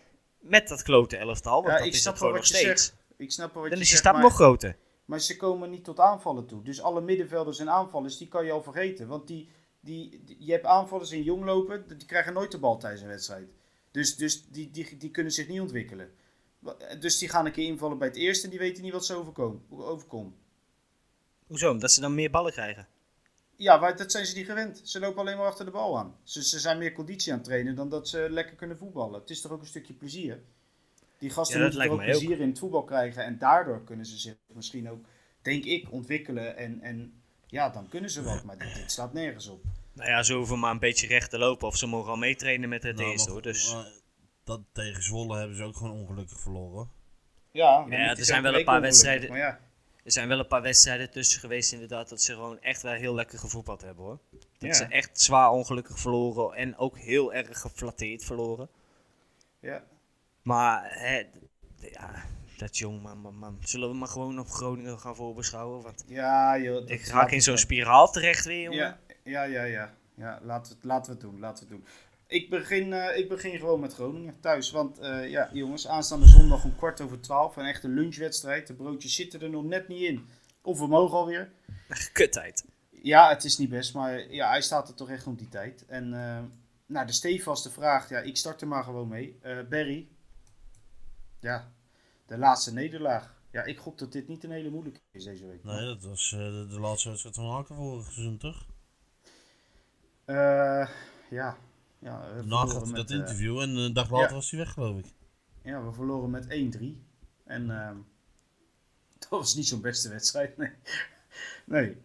Speaker 3: Met dat klote elftal, want
Speaker 1: Ja,
Speaker 3: dat
Speaker 1: ik
Speaker 3: is
Speaker 1: snap
Speaker 3: het gewoon
Speaker 1: wel
Speaker 3: nog
Speaker 1: wat je
Speaker 3: steeds.
Speaker 1: Ik snap wel wat
Speaker 3: Dan
Speaker 1: je
Speaker 3: is die
Speaker 1: zegt,
Speaker 3: stap
Speaker 1: maar-
Speaker 3: nog groter.
Speaker 1: Maar ze komen niet tot aanvallen toe. Dus alle middenvelders en aanvallers, die kan je al vergeten. Want die, die, die- je hebt aanvallers in jong lopen, die krijgen nooit de bal tijdens een wedstrijd. Dus, dus die, die, die kunnen zich niet ontwikkelen. Wa- Dus die gaan een keer invallen bij het eerste en die weten niet wat ze overkomen. overkomt.
Speaker 3: Hoezo? Omdat ze dan meer ballen krijgen.
Speaker 1: Ja, maar dat zijn ze niet gewend. Ze lopen alleen maar achter de bal aan. Ze, ze zijn meer conditie aan het trainen dan dat ze lekker kunnen voetballen. Het is toch ook een stukje plezier. Die gasten
Speaker 3: Ja, dat
Speaker 1: moeten toch ook
Speaker 3: lijkt mij ook.
Speaker 1: plezier in het voetbal krijgen. En daardoor kunnen ze zich misschien ook, denk ik, ontwikkelen. En, en ja, dan kunnen ze wat. Maar dit, dit staat nergens op.
Speaker 3: Nou ja, ze hoeven maar een beetje recht te lopen. Of ze mogen al meetrainen met het
Speaker 2: Nou,
Speaker 3: eerste
Speaker 2: maar
Speaker 3: hoor.
Speaker 2: goed,
Speaker 3: Dus
Speaker 2: maar dat, tegen Zwolle hebben ze ook gewoon ongelukkig verloren.
Speaker 1: Ja, maar
Speaker 3: Ja,
Speaker 1: niet
Speaker 3: er
Speaker 1: is
Speaker 3: zijn
Speaker 1: elke
Speaker 3: wel een
Speaker 1: week
Speaker 3: paar
Speaker 1: ongelukkig,
Speaker 3: wedstrijden-
Speaker 1: Maar ja,
Speaker 3: er zijn wel een paar wedstrijden tussen geweest inderdaad. Dat ze gewoon echt wel heel lekker gevoetbald hebben hoor. Dat
Speaker 1: Ja.
Speaker 3: ze echt zwaar ongelukkig verloren. En ook heel erg geflatteerd verloren.
Speaker 1: ja.
Speaker 3: Maar hè, d- ja, dat jong man, man, man. Zullen we maar gewoon op Groningen gaan voorbeschouwen? Want
Speaker 1: ja joh. dat
Speaker 3: ik
Speaker 1: laat
Speaker 3: raak in
Speaker 1: het
Speaker 3: zo'n
Speaker 1: maar.
Speaker 3: spiraal terecht weer, jongen.
Speaker 1: Ja, ja, ja, ja. ja laten, we het, laten we het doen, laten we het doen. Ik begin, eh, ik begin gewoon met Groningen thuis. Want eh, ja, jongens, aanstaande zondag om kwart over twaalf. Een echte lunchwedstrijd. De broodjes zitten er nog net niet in. Of we mogen alweer.
Speaker 3: Ach, Kutheid.
Speaker 1: Ja, het is niet best, maar ja, hij staat er toch echt om die tijd. En eh, nou, de stevigste vraag, ja, ik start er maar gewoon mee. Eh, Barry, ja, de laatste nederlaag. Ja, ik gok dat dit niet een hele moeilijke is deze week.
Speaker 2: Nee, dat was eh, de, de laatste wedstrijd van Haken vorig seizoen, toch?
Speaker 1: Eh, ja. ja we
Speaker 2: Na
Speaker 1: verloren
Speaker 2: had hij
Speaker 1: met,
Speaker 2: Nou, dat
Speaker 1: eh,
Speaker 2: interview en een dag later
Speaker 1: ja.
Speaker 2: was hij weg, geloof ik.
Speaker 1: ja, we verloren met 1-3. En ehm, dat was niet zo'n beste wedstrijd, nee. nee.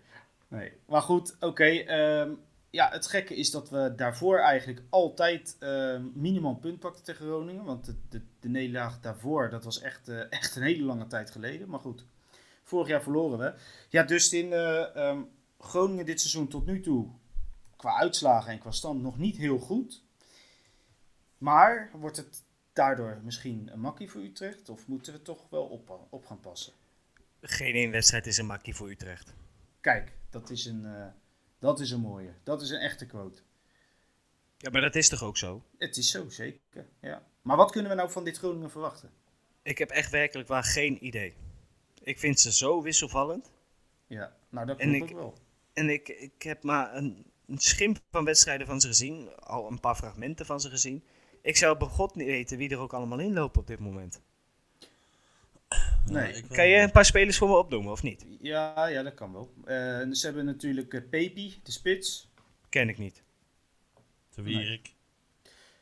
Speaker 1: nee. Maar goed, oké. ehm, ja, het gekke is dat we daarvoor eigenlijk altijd ehm minimaal een punt pakten tegen Groningen. Want de, de, de nederlaag daarvoor, dat was echt, eh, echt een hele lange tijd geleden. Maar goed, vorig jaar verloren we. Ja, dus in eh, ehm, Groningen dit seizoen tot nu toe, qua uitslagen en qua stand, nog niet heel goed. Maar wordt het daardoor misschien een makkie voor Utrecht? Of moeten we toch wel op, op gaan passen?
Speaker 3: Geen één wedstrijd is een makkie voor Utrecht.
Speaker 1: Kijk, dat is een, eh, dat is een mooie. Dat is een echte quote.
Speaker 3: Ja, maar dat is toch ook zo?
Speaker 1: Het is zo, zeker. Ja. Maar wat kunnen we nou van dit Groningen verwachten?
Speaker 3: Ik heb echt werkelijk waar geen idee. Ik vind ze zo wisselvallend.
Speaker 1: Ja, nou dat
Speaker 3: En
Speaker 1: klopt
Speaker 3: ik-
Speaker 1: ook wel.
Speaker 3: En ik, ik heb maar een, een schimp van wedstrijden van ze gezien. Al een paar fragmenten van ze gezien. Ik zou bij god niet weten wie er ook allemaal in loopt op dit moment.
Speaker 1: Nee.
Speaker 2: ik weet
Speaker 3: Kan je
Speaker 2: het
Speaker 3: een paar spelers voor me opnoemen of niet?
Speaker 1: Ja, ja, dat kan wel. Eh, ze hebben natuurlijk eh, Pepi, de spits.
Speaker 3: Ken ik niet.
Speaker 2: niet. Te Wierik.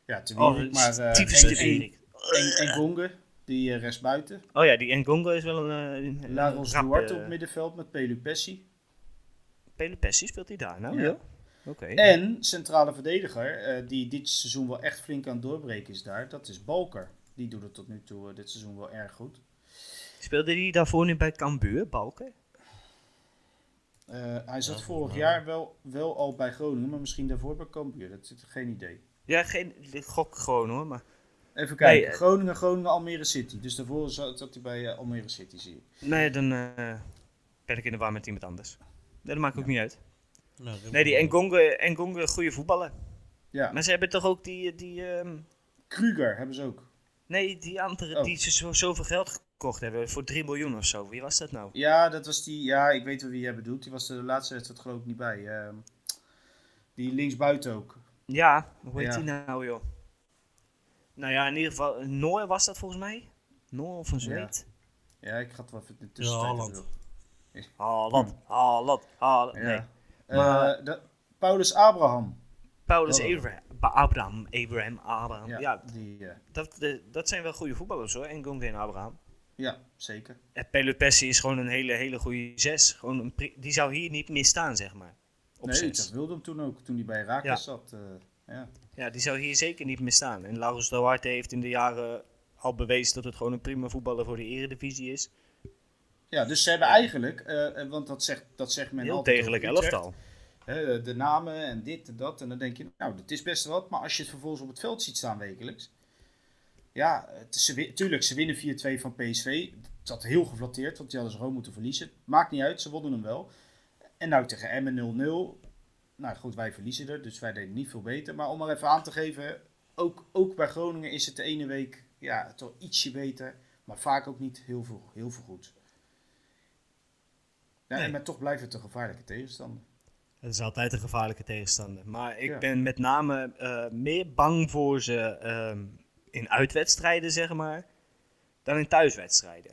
Speaker 1: Ja, te
Speaker 3: Oh,
Speaker 1: Wierik, maar eh,
Speaker 3: typisch
Speaker 1: en-
Speaker 3: de Wierik.
Speaker 1: en, en Gonge, die eh, rest buiten.
Speaker 3: Oh ja, die Engongo is wel een... eh, een
Speaker 1: Laros
Speaker 3: rappe-
Speaker 1: Duarte op middenveld met Pelu Pessi.
Speaker 3: Pele Pessi speelt hij daar nou?
Speaker 1: Ja.
Speaker 3: Ja. Oké.
Speaker 1: En centrale verdediger, eh, die dit seizoen wel echt flink aan het doorbreken is daar, dat is Balker. Die doet het tot nu toe eh, dit seizoen wel erg goed.
Speaker 3: Speelde hij daarvoor nu bij Cambuur, Balken?
Speaker 1: Eh, hij zat
Speaker 2: Ja,
Speaker 1: vorig
Speaker 2: maar-
Speaker 1: jaar wel, wel al bij Groningen, maar misschien daarvoor bij Cambuur. Dat is geen idee.
Speaker 3: Ja, geen ik gok gewoon hoor, maar...
Speaker 1: Even kijken.
Speaker 3: eh,
Speaker 1: Groningen, Groningen, Almere City. Dus daarvoor zat, zat hij bij eh, Almere City, zie ik.
Speaker 3: Nee, dan eh, ben ik in de war met iemand anders. Nee, dat maakt ook niet uit.
Speaker 2: Nou, ik-
Speaker 3: Nee, die Engonge, Engonge goede voetballer.
Speaker 1: Ja,
Speaker 3: Maar ze hebben toch ook die... die ehm,
Speaker 1: Kruger hebben ze ook.
Speaker 3: nee, die andere
Speaker 1: Oh.
Speaker 3: die ze zo, zoveel geld gekocht hebben. Voor 3 miljoen of zo. Wie was dat nou?
Speaker 1: Ja, dat was die. Ja, ik weet wel wie jij bedoelt. Die was er de laatste wedstrijd geloof ik niet bij. Ehm, die linksbuiten ook.
Speaker 3: Ja, hoe heet
Speaker 1: Ja.
Speaker 3: die nou joh? Nou ja, in ieder geval... eh, Noor was dat volgens mij? Noor of een Zweed?
Speaker 1: Ja, ik ga het wel even in de
Speaker 2: Ja,
Speaker 1: tussentijd
Speaker 2: Haaland.
Speaker 1: even-
Speaker 3: Haaland, Haaland, Haaland. Nee,
Speaker 1: Hm. Ja.
Speaker 3: Maar-
Speaker 1: Eh, dat- Paulus Abraham.
Speaker 3: Paulus
Speaker 1: Oh.
Speaker 3: Abraham, Abraham, Abraham, Abraham.
Speaker 1: Ja,
Speaker 3: Ja,
Speaker 1: Die, eh,
Speaker 3: dat, de- dat zijn wel goede voetballers hoor, Engonge en Abraham.
Speaker 1: ja zeker.
Speaker 3: En Pelle Pessi is gewoon een hele, hele goede zes. Gewoon een pri- die zou hier niet meer staan, zeg maar. Op
Speaker 1: nee,
Speaker 3: zes.
Speaker 1: dat wilde hem toen ook. Toen hij bij Raakles
Speaker 3: Ja.
Speaker 1: zat. eh, ja.
Speaker 3: Ja, die zou hier zeker niet meer staan. En Laurens Duarte heeft in de jaren al bewezen dat het gewoon een prima voetballer voor de eredivisie is.
Speaker 1: ja, dus ze hebben eigenlijk, eh, eh, want dat zegt, dat zegt men
Speaker 3: Heel
Speaker 1: altijd
Speaker 3: degelijk
Speaker 1: over Utrecht,
Speaker 3: elftal.
Speaker 1: hè, de namen en dit en dat. En dan denk je, nou, dat is best wat. Maar als je het vervolgens op het veld ziet staan wekelijks. Ja, het, ze, win- tuurlijk, ze winnen 4-2 van PSV. Dat had heel geflatteerd, want die hadden ze gewoon moeten verliezen. Maakt niet uit, ze wonnen hem wel. En nou tegen Emmen 0-0. Nou goed, wij verliezen er, dus wij deden niet veel beter. Maar om maar even aan te geven, ook, ook bij Groningen is het de ene week ja, toch ietsje beter. Maar vaak ook niet heel veel, heel veel goed. Ja,
Speaker 3: Nee.
Speaker 1: en Maar toch blijft het een gevaarlijke tegenstander.
Speaker 3: Het is altijd een gevaarlijke tegenstander. Maar ik
Speaker 1: Ja.
Speaker 3: ben met name eh, meer bang voor ze ehm, in uitwedstrijden, zeg maar, dan in thuiswedstrijden.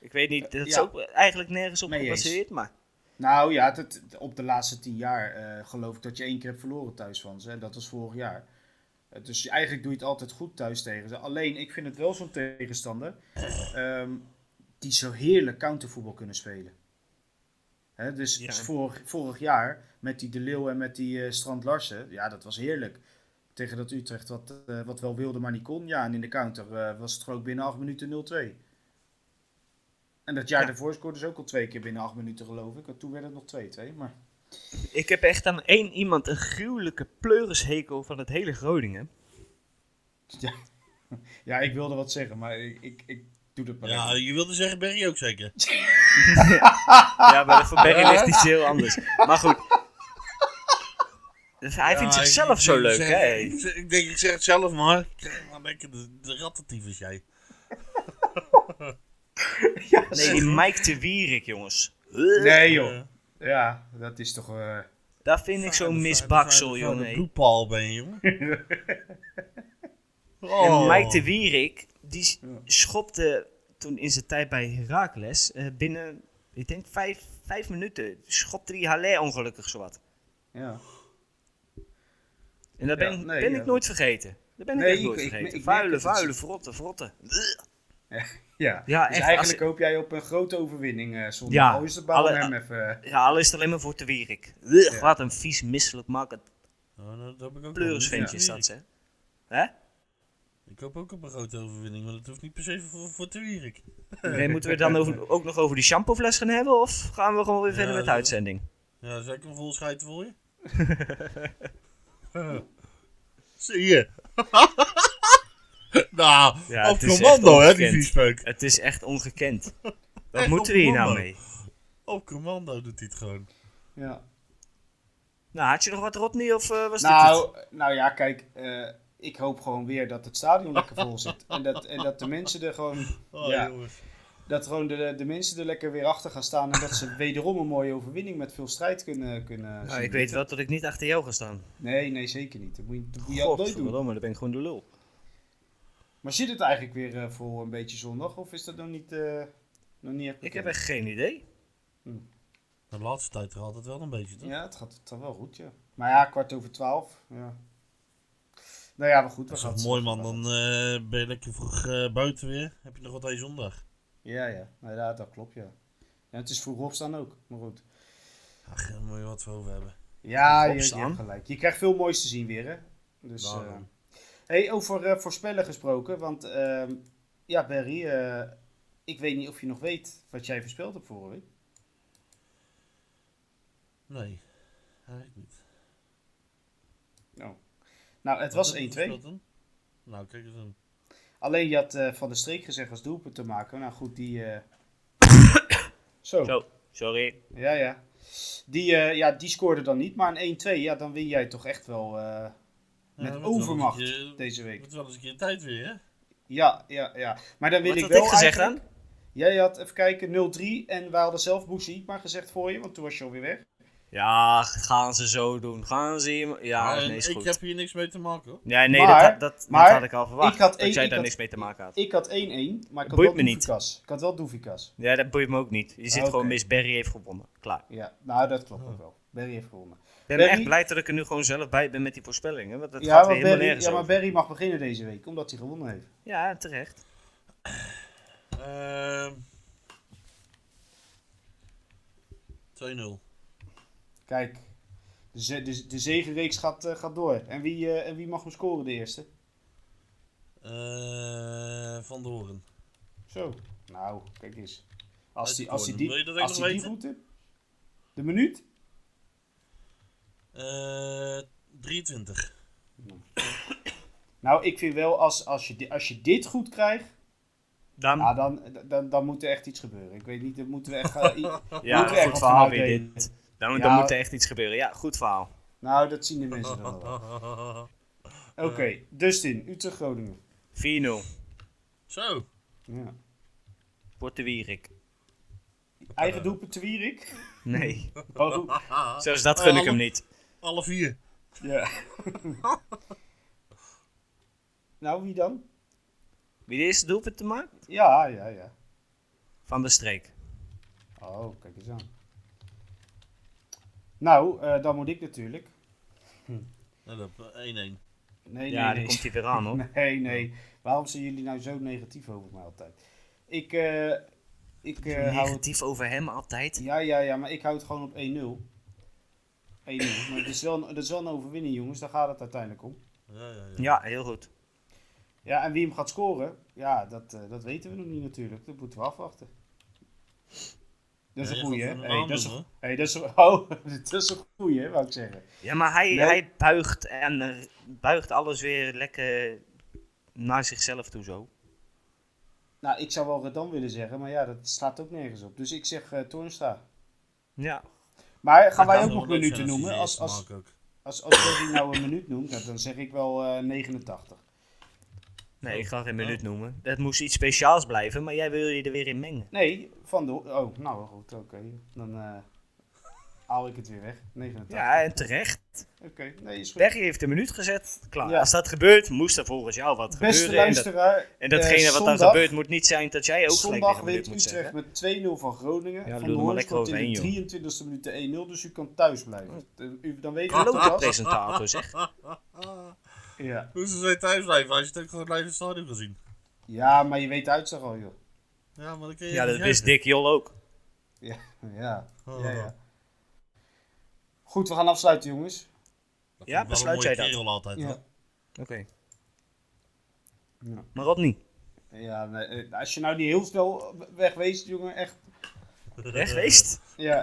Speaker 3: Ik weet niet, dat is
Speaker 1: ja.
Speaker 3: ook eigenlijk nergens op
Speaker 1: Mee eens.
Speaker 3: gebaseerd, maar...
Speaker 1: Nou ja, dat, op de laatste tien jaar eh, geloof ik dat je één keer hebt verloren thuis van ze. En dat was vorig jaar. Eh, dus je- eigenlijk doe je het altijd goed thuis tegen ze. Alleen, ik vind het wel zo'n tegenstander ehm, die zo heerlijk countervoetbal kunnen spelen. Hè, dus
Speaker 3: Ja.
Speaker 1: vorig, vorig jaar met die De Leeuw en met die eh, Strand Larsen, ja, dat was heerlijk. Tegen dat Utrecht wat, eh, wat wel wilde, maar niet kon. Ja, en in de counter eh, was het gewoon binnen acht minuten 0-2. En dat jaar
Speaker 3: Ja.
Speaker 1: daarvoor scoorde ze ook al twee keer binnen acht minuten, geloof ik. En toen werd het nog 2-2. Maar
Speaker 3: Ik heb echt aan één iemand een gruwelijke pleurishekel van het hele Groningen.
Speaker 1: ja, ik wilde wat zeggen, maar ik, ik, ik doe dat maar
Speaker 2: Ja,
Speaker 1: even.
Speaker 2: je wilde zeggen Berry ook zeker.
Speaker 3: Ja, maar voor Berry ligt iets heel anders. Maar goed. Dus Hij
Speaker 2: Ja,
Speaker 3: vindt
Speaker 2: ik-
Speaker 3: zichzelf
Speaker 2: ik
Speaker 3: zo
Speaker 2: denk, ik
Speaker 3: leuk,
Speaker 2: zeg-
Speaker 3: hè?
Speaker 2: Ik, zeg- ik denk, ik zeg het zelf maar. Kijk, maar lekker de, de rattentief is jij.
Speaker 3: Nee, die Mike de Wierik, jongens.
Speaker 1: Nee
Speaker 2: Eh,
Speaker 1: joh, Ja, dat is toch... eh,
Speaker 3: Daar vind ik zo'n misbaksel,
Speaker 2: Een
Speaker 3: jongen.
Speaker 2: bloedpaal ben je, jongen.
Speaker 3: En
Speaker 2: Oh.
Speaker 3: Mike de Wierik, die s-
Speaker 1: Ja.
Speaker 3: schopte toen in zijn tijd bij Heracles eh, binnen, ik denk, vijf, vijf minuten. Schopte die Haller ongelukkig zowat.
Speaker 1: ja.
Speaker 3: En dat
Speaker 1: Ja,
Speaker 3: ben,
Speaker 1: nee,
Speaker 3: ben
Speaker 1: ja.
Speaker 3: ik nooit vergeten. Dat ben ik
Speaker 1: Nee,
Speaker 3: echt
Speaker 1: ik-
Speaker 3: nooit
Speaker 1: ik-
Speaker 3: vergeten.
Speaker 1: ik merk
Speaker 3: vuile,
Speaker 1: het.
Speaker 3: vuile, verrotte, verrotte.
Speaker 1: Ja,
Speaker 3: Ja,
Speaker 1: dus
Speaker 3: echt,
Speaker 1: eigenlijk
Speaker 3: als-
Speaker 1: hoop jij op een grote overwinning eh zondag.
Speaker 3: Ja,
Speaker 1: Al is de bal
Speaker 3: alle-
Speaker 1: hem even...
Speaker 3: Ja, al is het alleen maar voor de Wierik. Wat een vies, misselijk maken.
Speaker 2: Oh, dat heb ik ook
Speaker 3: Pleurisventje is
Speaker 2: Ja.
Speaker 3: dat, hè? Hè?
Speaker 2: Ik hoop ook op een grote overwinning, maar dat hoeft niet per se voor, voor te wierik.
Speaker 3: Nee, moeten we het dan over- ook nog over die shampoofles gaan hebben? Of gaan we gewoon weer verder
Speaker 2: Ja,
Speaker 3: met de
Speaker 2: dat-
Speaker 3: uitzending?
Speaker 2: Ja, zou ik hem vol schijten voor je? Zie je? nou,
Speaker 3: Ja,
Speaker 2: op
Speaker 3: het is
Speaker 2: commando,
Speaker 3: echt
Speaker 2: hè, die
Speaker 3: ongekend.
Speaker 2: viespeuk.
Speaker 3: Het is echt ongekend. Wat
Speaker 2: Echt
Speaker 3: moeten we hier nou
Speaker 2: ongekend.
Speaker 3: mee?
Speaker 2: Op commando doet hij het gewoon.
Speaker 1: Ja.
Speaker 3: Nou, had je nog wat Rodney of eh, was dit
Speaker 1: Nou, nou ja, kijk, eh, ik hoop gewoon weer dat het stadion lekker vol zit. En dat, en dat de mensen er gewoon,
Speaker 2: Oh,
Speaker 1: ja,
Speaker 2: jongens.
Speaker 1: dat gewoon de, de mensen er lekker weer achter gaan staan. En dat ze wederom een mooie overwinning met veel strijd kunnen, kunnen
Speaker 3: het?
Speaker 1: zien.
Speaker 3: Nou, ik weet wel dat ik niet achter jou ga staan.
Speaker 1: Nee, nee, zeker niet. Dat moet je, dat moet je altijd doen.
Speaker 3: Godverdomme, dan ben ik gewoon de lul.
Speaker 1: Maar zit het eigenlijk weer eh, vol een beetje zondag? Of is dat nog niet, eh, nog niet echt
Speaker 3: Ik
Speaker 1: bekend?
Speaker 3: heb echt geen idee.
Speaker 2: De laatste tijd er altijd wel een beetje, toch?
Speaker 1: Ja, het gaat toch wel goed, ja. Maar ja, kwart over twaalf. Ja. Nou ja, maar goed. we
Speaker 2: Dat is
Speaker 1: gaan
Speaker 2: toch
Speaker 1: het
Speaker 2: mooi,
Speaker 1: zondag
Speaker 2: man.
Speaker 1: wel.
Speaker 2: Dan eh, ben je lekker vroeg eh, buiten weer. Heb je nog wat aan je zondag?
Speaker 1: Ja, ja. Nou, ja, dat klopt, ja. En het is vroeg opstaan ook, maar goed.
Speaker 2: Ach, daar moet je wat voor over hebben.
Speaker 1: Ja, je, je
Speaker 3: Opstaan?
Speaker 1: hebt gelijk. Je krijgt veel moois te zien weer, hè. Dus, eh,
Speaker 2: Daarom.
Speaker 1: hey, over eh, voorspellen gesproken. Want, ehm, ja, Barry, eh, ik weet niet of je nog weet wat jij voorspeld hebt vorige week.
Speaker 2: Nee, eigenlijk niet.
Speaker 1: Nou, nou het was 1-2.
Speaker 2: Nou, kijk eens aan.
Speaker 1: Alleen je had eh, Van de Streek gezegd als doelpunt te maken. Nou goed, die... eh, Zo.
Speaker 3: Zo, sorry.
Speaker 1: Ja, ja. Die, eh, ja, die scoorde dan niet. Maar een 1-2, ja, dan win jij toch echt wel eh,
Speaker 2: Ja,
Speaker 1: met
Speaker 2: dat wordt
Speaker 1: overmacht
Speaker 2: wel een keer-
Speaker 1: deze week.
Speaker 2: wordt wel eens een keer tijd weer, hè?
Speaker 1: Ja, ja, ja. Maar dan wil
Speaker 3: Wat
Speaker 1: ik
Speaker 3: had
Speaker 1: wel
Speaker 3: ik gezegd
Speaker 1: eigenlijk-
Speaker 3: dan?
Speaker 1: Jij had, even kijken, 0-3. En wij hadden zelf Boesie maar gezegd voor je, want toen was je alweer weg.
Speaker 3: Ja, gaan ze zo doen. Gaan ze hier... Ja,
Speaker 2: Maar,
Speaker 3: nee, is
Speaker 2: Eh, ik
Speaker 3: goed.
Speaker 2: heb hier niks mee te maken, hoor.
Speaker 3: Ja, nee,
Speaker 1: Maar-
Speaker 3: dat, had- dat,
Speaker 1: maar
Speaker 3: dat had ik al verwacht.
Speaker 1: ik had één-
Speaker 3: dat jij
Speaker 1: ik
Speaker 3: daar
Speaker 1: had-
Speaker 3: niks mee te maken had.
Speaker 1: Ik had 1-1, maar ik had
Speaker 3: Boeit
Speaker 1: wel
Speaker 3: me niet.
Speaker 1: Doefikas. Ik had wel Doefikas.
Speaker 3: Ja, dat boeit me ook niet. Je zit
Speaker 1: Ah, Oké.
Speaker 3: gewoon, Miss Berry heeft gewonnen. Klaar.
Speaker 1: Ja, nou, dat klopt ook wel. Barry heeft gewonnen.
Speaker 3: Ik ben
Speaker 1: Berry-
Speaker 3: echt blij dat ik er nu gewoon zelf bij ben met die voorspellingen. Want dat
Speaker 1: Ja,
Speaker 3: gaat weer
Speaker 1: maar,
Speaker 3: helemaal
Speaker 1: Barry,
Speaker 3: nergens
Speaker 1: ja, maar
Speaker 3: over.
Speaker 1: Barry mag beginnen deze week, omdat hij gewonnen heeft.
Speaker 3: Ja, terecht.
Speaker 2: Ehm 2-0.
Speaker 1: Kijk, de, ze- de, de zegenreeks gaat, eh, gaat door. En wie, eh, en wie mag hem scoren, de eerste?
Speaker 2: Eh, van de Horen.
Speaker 1: Zo. Nou, kijk eens. Als die, als die,
Speaker 2: Wil je dat
Speaker 1: die,
Speaker 2: ook
Speaker 1: als
Speaker 2: nog
Speaker 1: die, die
Speaker 2: weten?
Speaker 1: goed heeft. De minuut?
Speaker 2: Eh 23.
Speaker 1: Nou, ik vind wel, als, als, je, di- als je dit goed krijgt,
Speaker 3: Dan,
Speaker 1: nou, dan, dan, dan moet er echt iets gebeuren. Ik weet niet, dan moeten we echt... eh, i-
Speaker 3: ja,
Speaker 1: moeten we echt
Speaker 3: goed
Speaker 1: wat
Speaker 3: verhaal
Speaker 1: vanuit
Speaker 3: weer
Speaker 1: delen.
Speaker 3: dit. Dan,
Speaker 1: Ja.
Speaker 3: dan moet er echt iets gebeuren. Ja, goed verhaal.
Speaker 1: nou, dat zien de mensen dan wel. Oké, Dustin, Utrecht-Groningen.
Speaker 3: 4-0.
Speaker 2: Zo.
Speaker 1: Ja.
Speaker 3: Wordt de Wierik.
Speaker 1: Eigen doelpunt te Wierik.
Speaker 3: Nee,
Speaker 1: Oh,
Speaker 3: zelfs dus dat gun ik hem niet.
Speaker 2: Alle vier.
Speaker 1: ja. nou, wie dan?
Speaker 3: Wie de eerste doelpunt te maken?
Speaker 1: Ja, ja, ja.
Speaker 3: Van de streek.
Speaker 1: Oh, kijk eens aan. Nou, eh, dan moet ik natuurlijk.
Speaker 2: Nou, dat- 1-1.
Speaker 1: Nee, nee,
Speaker 3: Ja, daar
Speaker 1: nee.
Speaker 3: komt hij weer aan hoor.
Speaker 1: Nee, nee. Waarom zijn jullie nou zo negatief over mij altijd? Ik, eh, ik eh, hou het...
Speaker 3: Negatief over hem altijd.
Speaker 1: Ja, ja, ja, maar ik hou het gewoon op 1-0. 1-0. Maar het is, wel, een- dat is wel een overwinning, jongens. Daar gaat het uiteindelijk om.
Speaker 2: Ja, ja, ja.
Speaker 3: Ja, heel goed.
Speaker 1: Ja, en wie hem gaat scoren, ja, dat, eh, dat weten we nog niet natuurlijk. Dat moeten we afwachten. Dat is
Speaker 2: Ja,
Speaker 1: een
Speaker 2: je
Speaker 1: goeie, hè?
Speaker 2: gaat voor een
Speaker 1: Hey,
Speaker 2: naam
Speaker 1: dat, is
Speaker 2: doen,
Speaker 1: een-
Speaker 2: hoor.
Speaker 1: hey, dat is een- oh, dat is een goeie, hè, wou ik zeggen.
Speaker 3: Ja, maar hij,
Speaker 1: Nee.
Speaker 3: hij buigt, en, eh, buigt alles weer lekker naar zichzelf toe zo.
Speaker 1: Nou, ik zou wel Redan willen zeggen, maar ja, dat staat ook nergens op. Dus ik zeg eh Toornstra.
Speaker 3: Ja,
Speaker 1: Maar gaan
Speaker 2: Dat
Speaker 1: wij
Speaker 2: zou
Speaker 1: ook
Speaker 2: wel
Speaker 1: nog
Speaker 2: leuk
Speaker 1: minuten
Speaker 2: zijn als
Speaker 1: noemen?
Speaker 2: hij
Speaker 1: Als,
Speaker 2: eerste
Speaker 1: als,
Speaker 2: maakt ook.
Speaker 1: Als, als Freddy nou een minuut noemt, nou, dan zeg ik wel eh, 89.
Speaker 3: nee, ik ga geen
Speaker 2: Oh.
Speaker 3: minuut noemen. Dat moest iets speciaals blijven, maar jij wil je er weer in mengen.
Speaker 1: Nee, van de. Oh, nou goed, oké. Dan. eh, haal ik het weer weg. 89.
Speaker 3: Ja, en terecht.
Speaker 1: Oké, nee, is goed.
Speaker 3: Berry heeft een minuut gezet. Klaar.
Speaker 1: Ja.
Speaker 3: Als dat gebeurt, moest er volgens jou wat
Speaker 1: Beste
Speaker 3: gebeuren. En, dat-
Speaker 1: luisteraar.
Speaker 3: en datgene
Speaker 1: eh,
Speaker 3: wat
Speaker 1: zondag-
Speaker 3: dan gebeurt, moet niet zijn dat jij ook gelijk
Speaker 1: Zondag
Speaker 3: weer een minuut
Speaker 1: wint
Speaker 3: moet
Speaker 1: Utrecht
Speaker 3: zeggen.
Speaker 1: met 2-0 van Groningen.
Speaker 3: Ja,
Speaker 1: van
Speaker 3: lul
Speaker 1: de
Speaker 3: er maar lekker
Speaker 1: Hoorn scoort in
Speaker 3: overheen,
Speaker 1: de 23e minuut de 1-0, dus u kan thuis blijven. Eh, u- Dan weet u
Speaker 3: Klote
Speaker 1: dat.
Speaker 3: presentator, zeg.
Speaker 1: Ja.
Speaker 2: Hoe ze zo thuis blijven als je het ook gewoon live in het stadion gezien.
Speaker 1: ja, maar je weet de uitslag al, joh.
Speaker 2: Ja, maar dan kun je
Speaker 3: Ja,
Speaker 2: niet
Speaker 3: dat wist
Speaker 2: juichen.
Speaker 3: Dick Jol ook.
Speaker 1: Ja, ja.
Speaker 2: Oh.
Speaker 1: ja, ja. Goed, we gaan afsluiten, jongens.
Speaker 2: Dat
Speaker 3: Ja,
Speaker 2: vond ik
Speaker 3: besluit
Speaker 2: wel een mooie
Speaker 3: jij dat?
Speaker 2: kerel altijd. hoor.
Speaker 1: Ja.
Speaker 3: Oké.
Speaker 1: Ja.
Speaker 3: Maar Rodney,
Speaker 1: Ja, nee, eh, als je nou niet heel snel wegweest, jongen, echt.
Speaker 2: Eh,
Speaker 3: wegweest?
Speaker 1: Ja.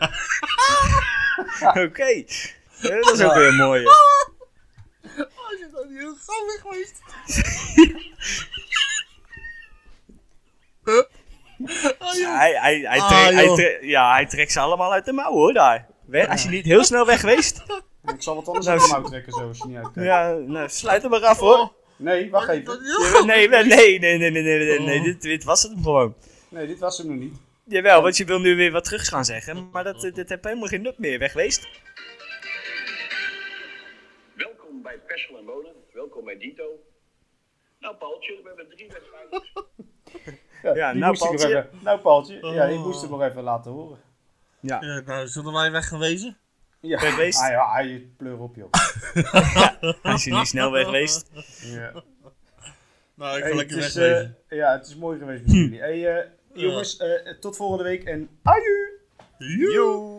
Speaker 3: Oké. Ja, dat is ook weer mooi. hè.
Speaker 2: Als je dan niet heel grappig geweest. Oh, joh.
Speaker 3: Hij, hij, hij,
Speaker 2: Ah,
Speaker 3: trekt- hij
Speaker 2: joh.
Speaker 3: trekt- ja, hij trekt ze allemaal uit de mouw hoor daar. We- Als je niet heel snel wegweest,
Speaker 1: Ik zal wat anders
Speaker 3: Nou,
Speaker 1: uit hem trekken, zo, als je niet uitkijkt.
Speaker 3: ja, nou, sluit hem maar af
Speaker 2: Oh.
Speaker 3: hoor.
Speaker 1: Nee, wacht
Speaker 2: Dat
Speaker 1: even.
Speaker 2: is heel
Speaker 3: Jawel,
Speaker 2: grappig.
Speaker 3: Nee, nee, nee, nee, nee, nee, nee, nee, nee,
Speaker 2: Oh.
Speaker 3: dit, dit was het hem gewoon.
Speaker 1: Nee, dit was hem nog niet.
Speaker 3: Jawel, want je wil nu weer wat terug gaan zeggen, maar dat, dit heb helemaal geen nut meer. Wegweest?
Speaker 4: Welkom bij Pessel en Wonen. Welkom bij Dito. Nou, Paultje, we hebben drie wedstrijden.
Speaker 1: Ja, die
Speaker 3: nou,
Speaker 1: moest ik nog
Speaker 3: Paaltje.
Speaker 1: even- Nou, Paaltje. Ja, ik
Speaker 2: Oh.
Speaker 1: moest hem nog even laten horen.
Speaker 3: Ja.
Speaker 2: Ja, nou, zullen wij weggewezen?
Speaker 1: Ja,
Speaker 3: Wegweest.
Speaker 1: Ah, ja, ah, je pleur op, joh.
Speaker 3: Als je niet snel wegweest.
Speaker 1: Ja.
Speaker 2: Nou, ik
Speaker 1: Hey,
Speaker 2: wil
Speaker 1: het,
Speaker 2: lekker
Speaker 1: is,
Speaker 2: wegwezen. Hm.
Speaker 1: eh, ja, het is mooi geweest met jullie. Hey, eh, jongens, eh, tot volgende week en aju!
Speaker 2: Joe.